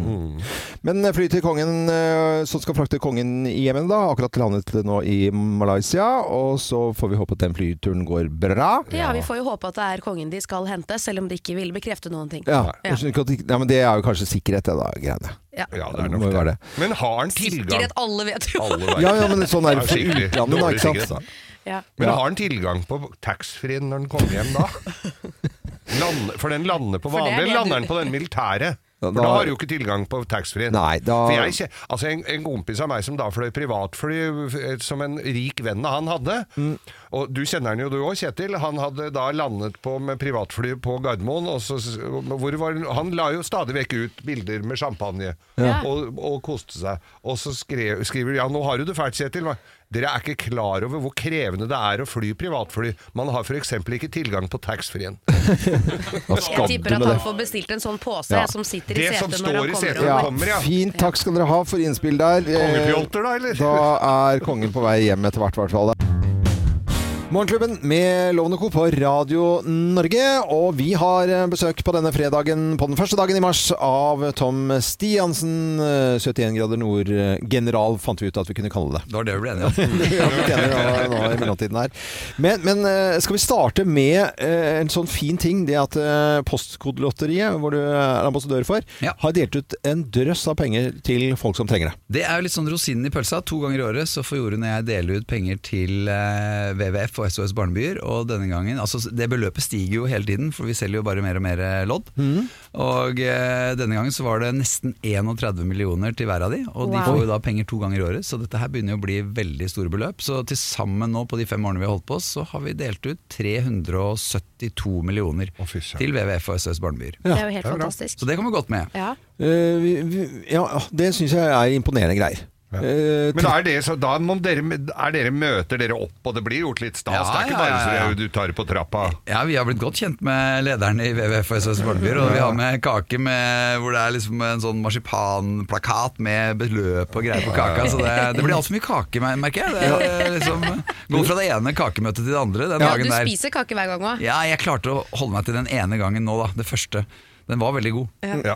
Speaker 1: Men fly til kongen eh, som skal frakte kongen i Jemen, da. Akkurat landet nå i Malaysia. Og så får vi håpe at den flyturen går bra.
Speaker 2: Ja, vi får jo håpe at det er kongen de skal hente, selv om de ikke vil bekrefte noen ting.
Speaker 1: Ja,
Speaker 2: Ja.
Speaker 1: jeg skjønner ikke at de- Nei, men det er jo kanskje sikkerhet, det da, greiene.
Speaker 2: Ja.
Speaker 3: det er nok
Speaker 1: må jo
Speaker 3: det.
Speaker 1: være det.
Speaker 3: Men har han tilgang
Speaker 2: Sikkerhet, alle vet jo.
Speaker 3: Alle vet.
Speaker 1: Ja, ja, men sånn er det for
Speaker 3: skikkelig
Speaker 1: utlandet, da,
Speaker 3: dårlig
Speaker 1: ikke sant?
Speaker 3: sikkerhet, da.
Speaker 2: Ja.
Speaker 3: Men
Speaker 1: Ja.
Speaker 3: har han tilgang på taxfree-en når han kommer hjem da? Land, for den lander på
Speaker 2: For det er
Speaker 3: vanlig,
Speaker 2: det
Speaker 3: lander
Speaker 2: du-
Speaker 3: den på den militære. For
Speaker 1: da-
Speaker 3: da har du jo ikke tilgang på taxfree-en.
Speaker 1: Nei, da-
Speaker 3: For jeg kje- Altså, en, en kompis av meg som da fløy privatfly, eh, som en rik venn av han hadde,
Speaker 1: Mm.
Speaker 3: og du kjenner han jo du òg, Kjetil, han hadde da landet på med privatfly på Gardermoen, og så, s- hvor var, han- han la jo stadig vekk ut bilder med champagne,
Speaker 12: Ja.
Speaker 3: og, og koste seg. Og så skrev, skriver de, ja, nå har du det fælt, Kjetil. men Dere er ikke klar over hvor krevende det er å fly privatfly. Man har f.eks. ikke tilgang på taxfree-en.
Speaker 2: Jeg tipper at han får bestilt en sånn pose
Speaker 3: Ja.
Speaker 2: som sitter i
Speaker 3: Det som
Speaker 2: setet når
Speaker 3: står i
Speaker 2: han kommer.
Speaker 3: setet.
Speaker 2: over.
Speaker 1: Ja,
Speaker 3: kommer, ja.
Speaker 1: fint, takk skal dere ha for innspill der. Eh,
Speaker 3: Kongepjolter da, eller?
Speaker 1: Da er kongen på vei hjem etter hvert, i hvert fall. Morgenklubben med Lovende Co. på Radio Norge. Og vi har eh, besøk på denne fredagen, på den første dagen i mars, av Tom Stiansen. eh, 71 grader nord-general, fant vi ut at vi kunne kalle det.
Speaker 14: Det var det vi ble enige om.
Speaker 1: Ja, vi tjener nå, nå i mellomtiden her. Men, men eh, skal vi starte med eh, en sånn fin ting. Det at eh, Postkodelotteriet, hvor du er ambassadør for, har delt ut en drøss av penger til folk som trenger det.
Speaker 14: Det er jo litt sånn rosinen i pølsa. To ganger i året så får Jorunn og jeg dele ut penger til eh, WWF og SOS Barnebyer. Og denne gangen altså Det beløpet stiger jo hele tiden, for vi selger jo bare mer og mer eh, lodd. Og eh, denne gangen så var det nesten 31 millioner til hver av de. Og de
Speaker 15: Wow.
Speaker 14: får jo da penger to ganger i året, så dette her begynner jo å bli veldig store beløp. Så til sammen nå på de fem årene vi har holdt på, så har vi delt ut 372 millioner til WWF og SOS Barnebyer.
Speaker 2: Det er jo helt fantastisk.
Speaker 14: Så det kommer godt med.
Speaker 2: Ja.
Speaker 1: Eh, vi, vi, ja, ah, det syns jeg er imponerende greier. Eh,
Speaker 3: Men da er, det, så, da må dere, er dere møter dere opp, og det blir gjort litt stas.
Speaker 14: Ja,
Speaker 3: det er
Speaker 14: ja,
Speaker 3: ikke bare
Speaker 14: ja, ja.
Speaker 3: så du tar det på trappa.
Speaker 14: Ja, Vi har blitt godt kjent med lederen i WWF og SS Barnebyer. Og vi har med kake med, hvor det er liksom en sånn marsipanplakat med beløp og greier på kaka. Så det, det blir altfor mye kake, mer- merker jeg. Det er liksom, Går fra det ene kakemøtet til det andre. Den
Speaker 2: Ja, du
Speaker 14: dagen der.
Speaker 2: spiser kake hver gang òg.
Speaker 14: Ja, jeg klarte å holde meg til den ene gangen nå, da. Det første. Den var veldig god.
Speaker 2: Ja.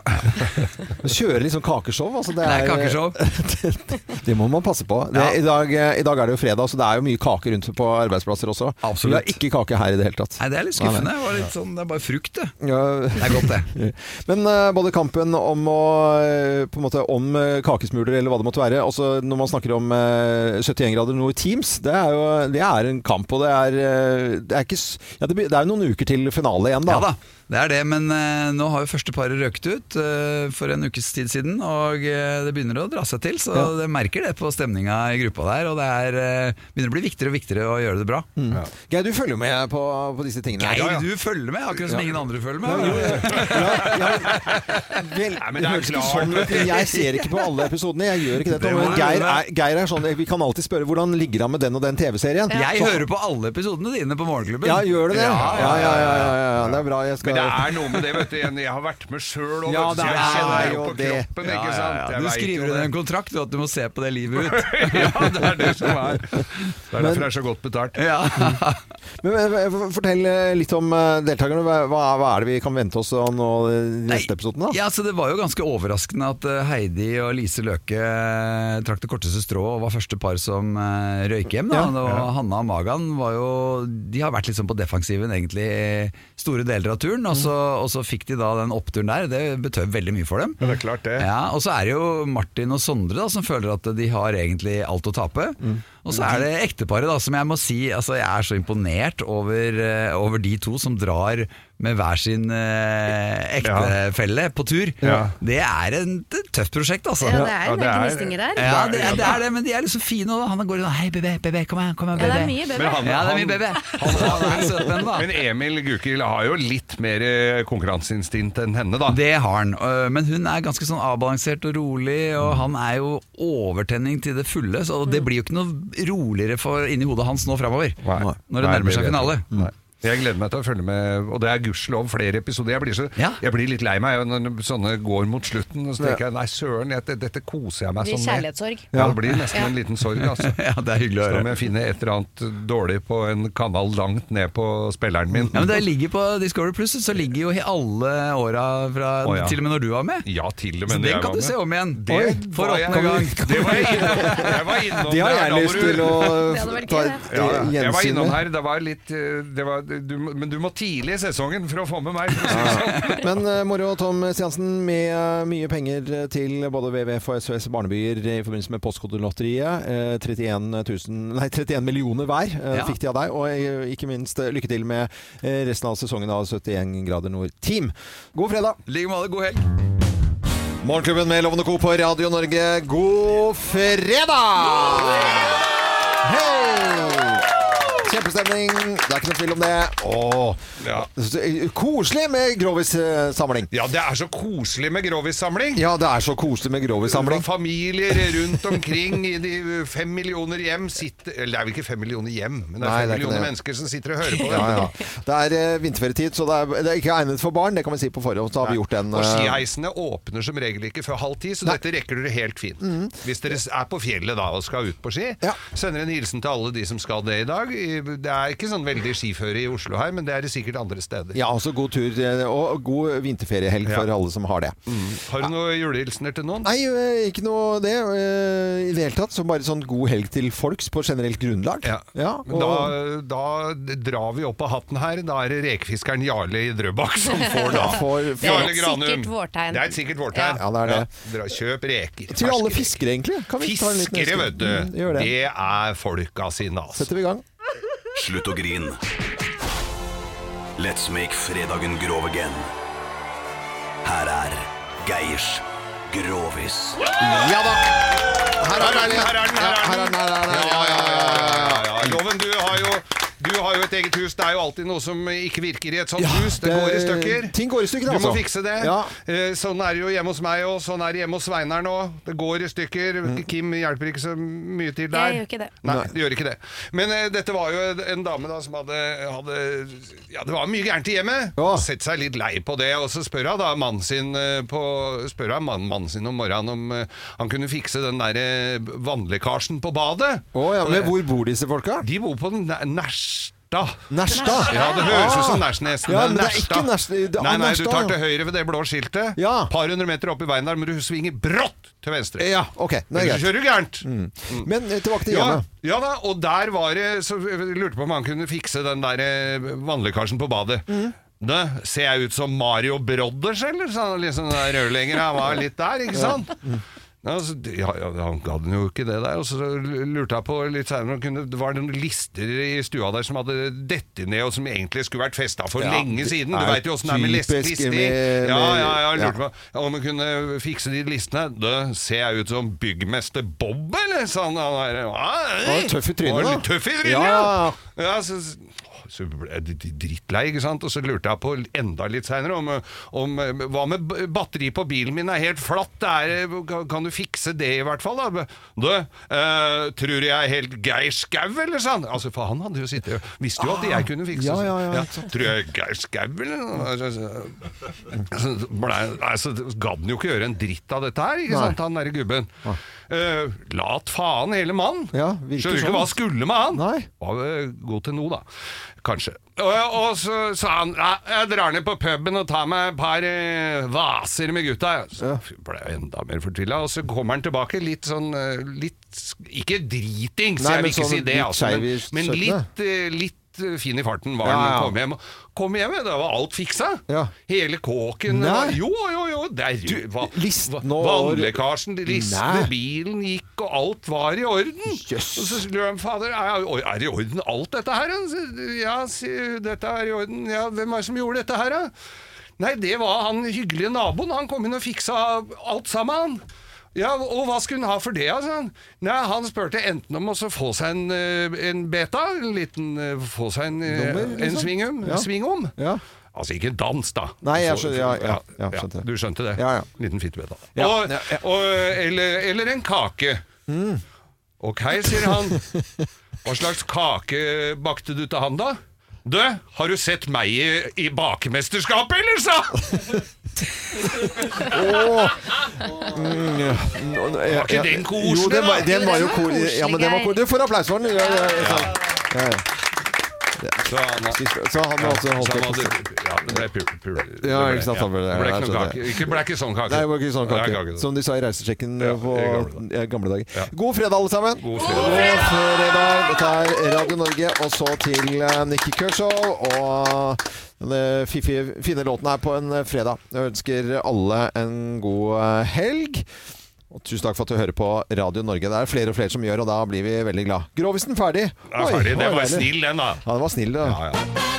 Speaker 1: Kjøre litt sånn kakeshow. Altså det,
Speaker 14: Nei,
Speaker 1: er,
Speaker 14: kakeshow.
Speaker 1: det må man passe på. Det, i, dag, eh, I dag er det jo fredag, så det er jo mye kake rundt på arbeidsplasser også.
Speaker 14: Absolutt.
Speaker 1: Vi har ikke kake her i det hele tatt.
Speaker 14: Nei, det er litt skuffende. Det, var litt sånn, det er bare frukt, det.
Speaker 1: Det
Speaker 14: er godt,
Speaker 1: det. Men eh, både kampen om å eh, på en måte om eh, kakesmuler, eller hva det måtte være også Når man snakker om eh, 71 grader nord Teams, det er jo det er en kamp. Og det er, eh, det er ikke s- ja, det, blir- det er jo noen uker til finale igjen, da.
Speaker 14: Ja da, det er det, men eh, nå har jo første paret røket ut eh, for en ukes tid siden, og eh, det begynner å dra seg til, så
Speaker 1: Ja.
Speaker 14: det merker det på stemninga i gruppa der, og det er, eh, begynner å bli viktigere og viktigere å gjøre det bra.
Speaker 1: Mm. Geir, du følger jo med på, på disse tingene. her.
Speaker 14: Geir, du følger med, akkurat som
Speaker 1: Ja.
Speaker 14: ingen andre følger
Speaker 1: Ja,
Speaker 14: med.
Speaker 1: jo, ja.
Speaker 14: Nei, men
Speaker 1: det
Speaker 14: er
Speaker 1: høres ikke
Speaker 14: klart.
Speaker 1: sånn ut. Jeg ser ikke på alle episodene. Jeg gjør ikke dette.
Speaker 14: Det må
Speaker 1: Men
Speaker 14: du
Speaker 1: Geir
Speaker 14: gjøre.
Speaker 1: er, Geir er sånn Vi kan alltid spørre hvordan ligger han med den og den TV-serien.
Speaker 14: Jeg
Speaker 1: Så-
Speaker 14: hører på alle episodene dine på Morgenklubben.
Speaker 1: Ja, gjør du det?
Speaker 14: Ja, ja, ja.
Speaker 1: ja, ja, ja. Det er bra. Jeg skal
Speaker 14: Men
Speaker 3: det er noe med det, vet du. Jeg har vært med sjøl og
Speaker 14: Ja,
Speaker 3: vet du, så
Speaker 14: det
Speaker 3: jeg kjenner
Speaker 14: er
Speaker 3: jo
Speaker 14: jo
Speaker 3: på
Speaker 14: det.
Speaker 3: kroppen,
Speaker 14: Ja,
Speaker 3: ikke
Speaker 14: ja,
Speaker 3: sant.
Speaker 14: ja.
Speaker 3: Jeg
Speaker 14: Du
Speaker 3: vet jo
Speaker 14: skriver
Speaker 3: det.
Speaker 14: under en kontrakt du, at du må se på det livet ut.
Speaker 3: ja, det er det som er. Det er derfor det er så godt betalt.
Speaker 1: Men, men, men, Fortell eh, litt om eh, deltakerne. Hva, hva- hva er det vi kan vente oss av nå i de neste episodene? da?
Speaker 14: Ja, så Det var jo ganske overraskende at eh, Heidi og Lise Løke eh, trakk det korteste strået og var første par som eh, røyk hjem. Da.
Speaker 1: Ja.
Speaker 14: Og
Speaker 1: Ja.
Speaker 14: Hanna og Magan var jo, de har vært liksom på defensiven egentlig eh, store deler av turen, og så, og så fikk de da den oppturen der. Det betød veldig mye for dem.
Speaker 3: Mm. Ja, det er klart det.
Speaker 14: Ja, og så er det jo Martin og Sondre da, som føler at de har egentlig alt å tape.
Speaker 3: Mm.
Speaker 14: Og så er det ekteparet da, som jeg må si altså Jeg er så imponert over, eh, over de to som drar med hver sin eh, ektefelle på tur.
Speaker 3: Ja.
Speaker 14: Det er en- et tøft prosjekt, altså.
Speaker 7: Ja, det er en Ja, det del er- gnistinger der.
Speaker 14: Ja, det, er- det er det, men de er liksom fine. Og han går inn og 'hei, bebe, bebe, kom her'. Kom her
Speaker 7: Ja, det er
Speaker 14: bebe».
Speaker 7: mye bebe.
Speaker 3: Men han-
Speaker 14: ja, det er
Speaker 3: han-
Speaker 14: mye bebe.
Speaker 3: Men Emil Gukild har jo litt mer eh, konkurranseinstinkt enn henne, da.
Speaker 14: Det har han, øh, men hun er ganske sånn avbalansert og rolig,
Speaker 3: Mm.
Speaker 14: og han er jo overtenning til det fulle, så det blir jo ikke noe roligere for inni hodet hans nå framover, når det
Speaker 3: Nei,
Speaker 14: nærmer seg
Speaker 3: vet
Speaker 14: finale.
Speaker 3: jeg. Nei. Jeg gleder meg til å følge med, og det er gudskjelov flere episoder. Jeg blir, så, jeg blir litt lei meg når sånne går mot slutten, og så tenker jeg nei, søren, jeg, dette koser jeg meg
Speaker 7: Det
Speaker 3: sånn
Speaker 7: blir kjærlighetssorg.
Speaker 3: Ja, det blir nesten
Speaker 7: Ja.
Speaker 3: en liten sorg, altså.
Speaker 14: ja, det er hyggelig å høre.
Speaker 3: Som jeg finner et eller annet dårlig på en kanal langt ned på spilleren min.
Speaker 14: Ja, men det ligger på Discovery Plus, så ligger jo he- alle åra fra
Speaker 3: Å, ja.
Speaker 14: Til og med når du var med.
Speaker 3: Ja, til og
Speaker 14: Så
Speaker 3: med når jeg
Speaker 14: den
Speaker 3: var
Speaker 14: kan du
Speaker 3: med.
Speaker 14: se om igjen.
Speaker 3: Det
Speaker 14: Oi, for
Speaker 3: var jeg-
Speaker 14: åttende gang.
Speaker 3: Det var jeg innom. Jeg var innom
Speaker 1: Det har
Speaker 3: der,
Speaker 1: jeg
Speaker 3: da må
Speaker 1: lyst
Speaker 3: du-
Speaker 1: til å Det hadde vært ta gøy, et, det.
Speaker 3: Ja,
Speaker 1: eh,
Speaker 3: Jeg var
Speaker 1: gjensyn
Speaker 3: innom
Speaker 1: med.
Speaker 3: her, det var litt eh, det var, du, må- Men du må tidlig i sesongen for å få med meg. for å si det sånn.
Speaker 1: Men eh, Moro og Tom Stiansen, med eh, mye penger til både WWF og SOS Barnebyer i forbindelse med Postkodelotteriet. eh, 31, 000, nei, 31 millioner hver eh,
Speaker 14: Ja.
Speaker 1: fikk de av deg. Og eh, ikke minst eh, lykke til med eh, resten av sesongen av 71 grader nord-team. God fredag!
Speaker 14: I like måte, god helg.
Speaker 1: Morgenklubben med Lovende Co på Radio Norge, god fredag! Hei! Kjempestemning, det er ikke noe tvil om det. Åh, så Koselig med Grovis-samling.
Speaker 3: Ja, det er så koselig med Grovis-samling.
Speaker 1: Ja, det er så koselig med Grovis-samling.
Speaker 3: Og Familier rundt omkring i de eh, fem millioner hjem sitter Eller det er vel ikke fem millioner hjem, men det er
Speaker 1: Nei, det er
Speaker 3: fem
Speaker 1: ikke
Speaker 3: millioner
Speaker 1: det.
Speaker 3: mennesker som sitter og hører på.
Speaker 1: Ja, ja. Det er eh, vinterferietid, så det er, det er ikke egnet for barn. Det kan vi si på forhånd. Så har vi gjort en
Speaker 3: Og
Speaker 1: eh,
Speaker 3: skiheisene åpner som regel ikke før halv ti, så dette rekker dere helt fint.
Speaker 1: Mhm.
Speaker 3: Hvis dere er på fjellet da og skal ut på ski, sender en hilsen til alle de som skal det i dag. I- Det er ikke sånn veldig skiføre i Oslo her, men det er det sikkert andre steder.
Speaker 1: Ja, altså god tur eh, og god vinterferiehelg for alle som har det.
Speaker 3: Mm. Har du noen julehilsener til noen?
Speaker 1: Nei, eh, ikke noe det eh, i det hele tatt. Så bare sånn god helg til folks på generelt grunnlag. Ja.
Speaker 3: Men da, da drar vi opp av hatten her. Da er det rekefiskeren Jarle i Drøbak som får da.
Speaker 1: Får-
Speaker 3: Jarle
Speaker 1: Det er et
Speaker 3: Granum.
Speaker 1: sikkert vårtegn.
Speaker 3: Det er et sikkert vårtegn.
Speaker 1: Ja, det er det.
Speaker 3: Ja, dra- Kjøp reker.
Speaker 1: Til alle
Speaker 3: ferske
Speaker 1: fiskere, egentlig. Kan vi ta en liten
Speaker 3: Fiskere,
Speaker 1: ønske?
Speaker 3: vet du.
Speaker 1: Mm, gjør det.
Speaker 3: det er folka sine, altså.
Speaker 1: Setter vi i gang.
Speaker 12: Slutt å grin. Let's make fredagen grov again. Her er Geirs Grovis.
Speaker 1: Ja da! Her
Speaker 3: er den, her er den! Her er den, her er den. Ja, ja, ja, ja, ja, ja. Loven, du har jo du har jo et eget hus. Det er jo alltid noe som ikke virker i et sånt hus. Det,
Speaker 1: det-
Speaker 3: går i stykker.
Speaker 1: ting går i stykker,
Speaker 3: Du må
Speaker 1: altså.
Speaker 3: fikse det.
Speaker 1: Ja.
Speaker 3: Eh, Sånn er det jo hjemme hos meg òg. Sånn er det hjemme hos Sveinar nå. Det går i stykker.
Speaker 1: Mm.
Speaker 3: Kim hjelper ikke så mye til der.
Speaker 7: Jeg gjør ikke det.
Speaker 3: Nei, det gjør ikke det. Men eh, dette var jo en dame da som hadde, hadde Ja, det var mye gærent i hjemmet. Sett seg litt lei på det. Og så spør hun da mannen sin eh, på, spør hun mannen, mannen sin om morgenen om eh, han kunne fikse den der eh, vannlekkasjen på badet.
Speaker 1: Å, ja, men hvor bor disse folka?
Speaker 3: De bor på Næ- Nærstad.
Speaker 1: Nærstad?
Speaker 3: Ja, det høres ut
Speaker 1: Ah.
Speaker 3: som Nærsnesen.
Speaker 1: Ja, men
Speaker 3: men
Speaker 1: det er ikke Nærstad. Det er
Speaker 3: Nei, nei, du
Speaker 1: Nærstad,
Speaker 3: tar
Speaker 1: ja.
Speaker 3: til høyre ved det blå skiltet. Par hundre meter opp i veien der, men du svinger brått til venstre.
Speaker 1: Ja, ok. Det er
Speaker 3: Ellers
Speaker 1: greit.
Speaker 3: kjører du gærent. Mm.
Speaker 1: Men eh, tilbake til
Speaker 3: Ja,
Speaker 1: hjemmet.
Speaker 3: ja da, og der var det Så jeg lurte på om han kunne fikse den der eh, vannlekkasjen på badet.
Speaker 1: Mhm.
Speaker 3: Da, ser jeg ut som Mario Brodders, eller? Sa han liksom den der rørleggeren. Han var litt der, ikke sant?
Speaker 1: Mm.
Speaker 3: Ja, så, ja, ja, han gadd jo ikke det der. Og så lurte jeg på litt senere om kunne, Det var noen lister i stua der som hadde dettet ned, og som egentlig skulle vært festa for
Speaker 1: Ja,
Speaker 3: lenge
Speaker 1: det
Speaker 3: siden.
Speaker 1: er
Speaker 3: Du veit jo åssen det er med list-
Speaker 1: typisk
Speaker 3: lister.
Speaker 1: med-
Speaker 3: Ja, ja, ja,
Speaker 1: med- ja.
Speaker 3: lurte på om jeg kunne fikse de listene. Da ser jeg ut som byggmester Bob, eller? Sa han. Han er,
Speaker 1: Han var tøff i trynet,
Speaker 3: Han var
Speaker 1: da.
Speaker 3: litt Tøff i trynet,
Speaker 1: Ja.
Speaker 3: ja. ja så, så ble jeg d- d- drittlei, ikke sant? Og så lurte jeg på enda litt seinere om, om Hva med b- batteri på bilen min er helt flatt? Det er, kan- kan du fikse det, i hvert fall? da? Du, eh, tror du jeg er helt Geir Skau, eller sånn? Altså, for han hadde jo sittet og Visste jo at jeg kunne fikse
Speaker 1: Ah, Ja, ja, ja,
Speaker 3: sånn.
Speaker 1: ikke sant.
Speaker 3: Tror jeg er Geir Skau, eller noe? Så- så- så ble- Nei, så gadd han jo ikke gjøre en dritt av dette her, ikke
Speaker 1: Nei. Ah.
Speaker 3: sant, han derre gubben. Eh, lat faen hele mannen!
Speaker 1: virker
Speaker 3: Skjønner ikke
Speaker 1: sånn.
Speaker 3: hva skulle med han! Var eh, god til noe, da. Kanskje. Og, og så sa han ja, jeg drar ned på puben og tar meg et par eh, vaser med gutta. jeg». Så ble jeg enda mer fortvila. Og så kommer han tilbake litt sånn eh, litt, Ikke dritings,
Speaker 1: Nei,
Speaker 3: jeg
Speaker 1: men
Speaker 3: vil ikke
Speaker 1: sånn
Speaker 3: si det,
Speaker 1: litt
Speaker 3: altså, men,
Speaker 1: skeiv i
Speaker 3: men
Speaker 1: støttene.
Speaker 3: litt, eh, litt eh, fin i farten var
Speaker 1: Ja,
Speaker 3: han da
Speaker 1: ja.
Speaker 3: han kom hjem. Kom hjem, ja, da var alt fiksa! Hele kåken
Speaker 1: Nei.
Speaker 3: var- Jo, jo, jo! Der, va,
Speaker 1: listen
Speaker 3: va,
Speaker 1: over-
Speaker 3: vannlekkasjen,
Speaker 1: Nei.
Speaker 3: listene, bilen gikk, og alt var i orden. Og så lurer han, fader, er, er det i orden alt dette her? da?» Så, Ja, si- dette er i orden. Ja, hvem er det som gjorde dette her, da? Nei, det var han hyggelige naboen. Han kom inn og fiksa alt sammen, han. Ja, og hva skulle han ha for det, altså? han? Nei, han spurte enten om å så få seg en, eh, en beta, en liten, eh, få seg en, eh,
Speaker 1: Nummer,
Speaker 3: en
Speaker 1: liksom.
Speaker 3: svingum,
Speaker 1: Ja.
Speaker 3: svingom. Altså ikke dans, da.
Speaker 1: Nei, jeg
Speaker 3: Så-
Speaker 1: skjønner- ja, ja, ja, skjønte
Speaker 3: Du skjønte det?
Speaker 1: Ja, ja.
Speaker 3: Liten fittebeta.
Speaker 1: Ja, Mm.
Speaker 3: og, og, eller, eller en kake. Ok, sier han. Hva slags kake bakte du til han, da? Du, har du sett meg i, i bakemesterskapet, eller, sa han?
Speaker 1: Åh. Mm, ja. Nå- nå- ja,
Speaker 3: Var ikke
Speaker 1: ja.
Speaker 3: den koselig,
Speaker 1: Jo, den var,
Speaker 3: da?
Speaker 1: den var jo koselig. Ja, men den var
Speaker 3: Geir.
Speaker 1: koselig. Du får applaus for den! Ja, ja, ja, sant. ja. ja.
Speaker 3: Så han,
Speaker 1: Så han har også holdt
Speaker 3: så han
Speaker 1: det
Speaker 3: hadde- Ja, det ble pul... pul det
Speaker 1: Ja,
Speaker 3: ble-
Speaker 1: ikke sant. han ble
Speaker 3: Det
Speaker 1: det. Ja,
Speaker 3: ble ikke noen
Speaker 1: jeg skjønner
Speaker 3: kake. Ikke, ble ikke sånn kake.
Speaker 1: Nei, det var ikke sånn
Speaker 3: Nei,
Speaker 1: kake. Som de sa i reisesjekken på
Speaker 3: i gamle
Speaker 1: ja, gamle dager. God fredag, alle sammen. God
Speaker 3: fredag.
Speaker 1: fredag. Dette er Radio Norge, og så til eh, Nikki Kershaw. Og den fiffige, fine låten her på en eh, fredag. Jeg ønsker alle en god eh, helg. Og tusen takk for at du hører på Radio Norge. Det er flere og flere som gjør, og da blir vi veldig glad. Grovisen ferdig.
Speaker 3: Det er ferdig. Det var snill, den, da.
Speaker 1: Ja, den var snill, det.
Speaker 3: Ja, ja.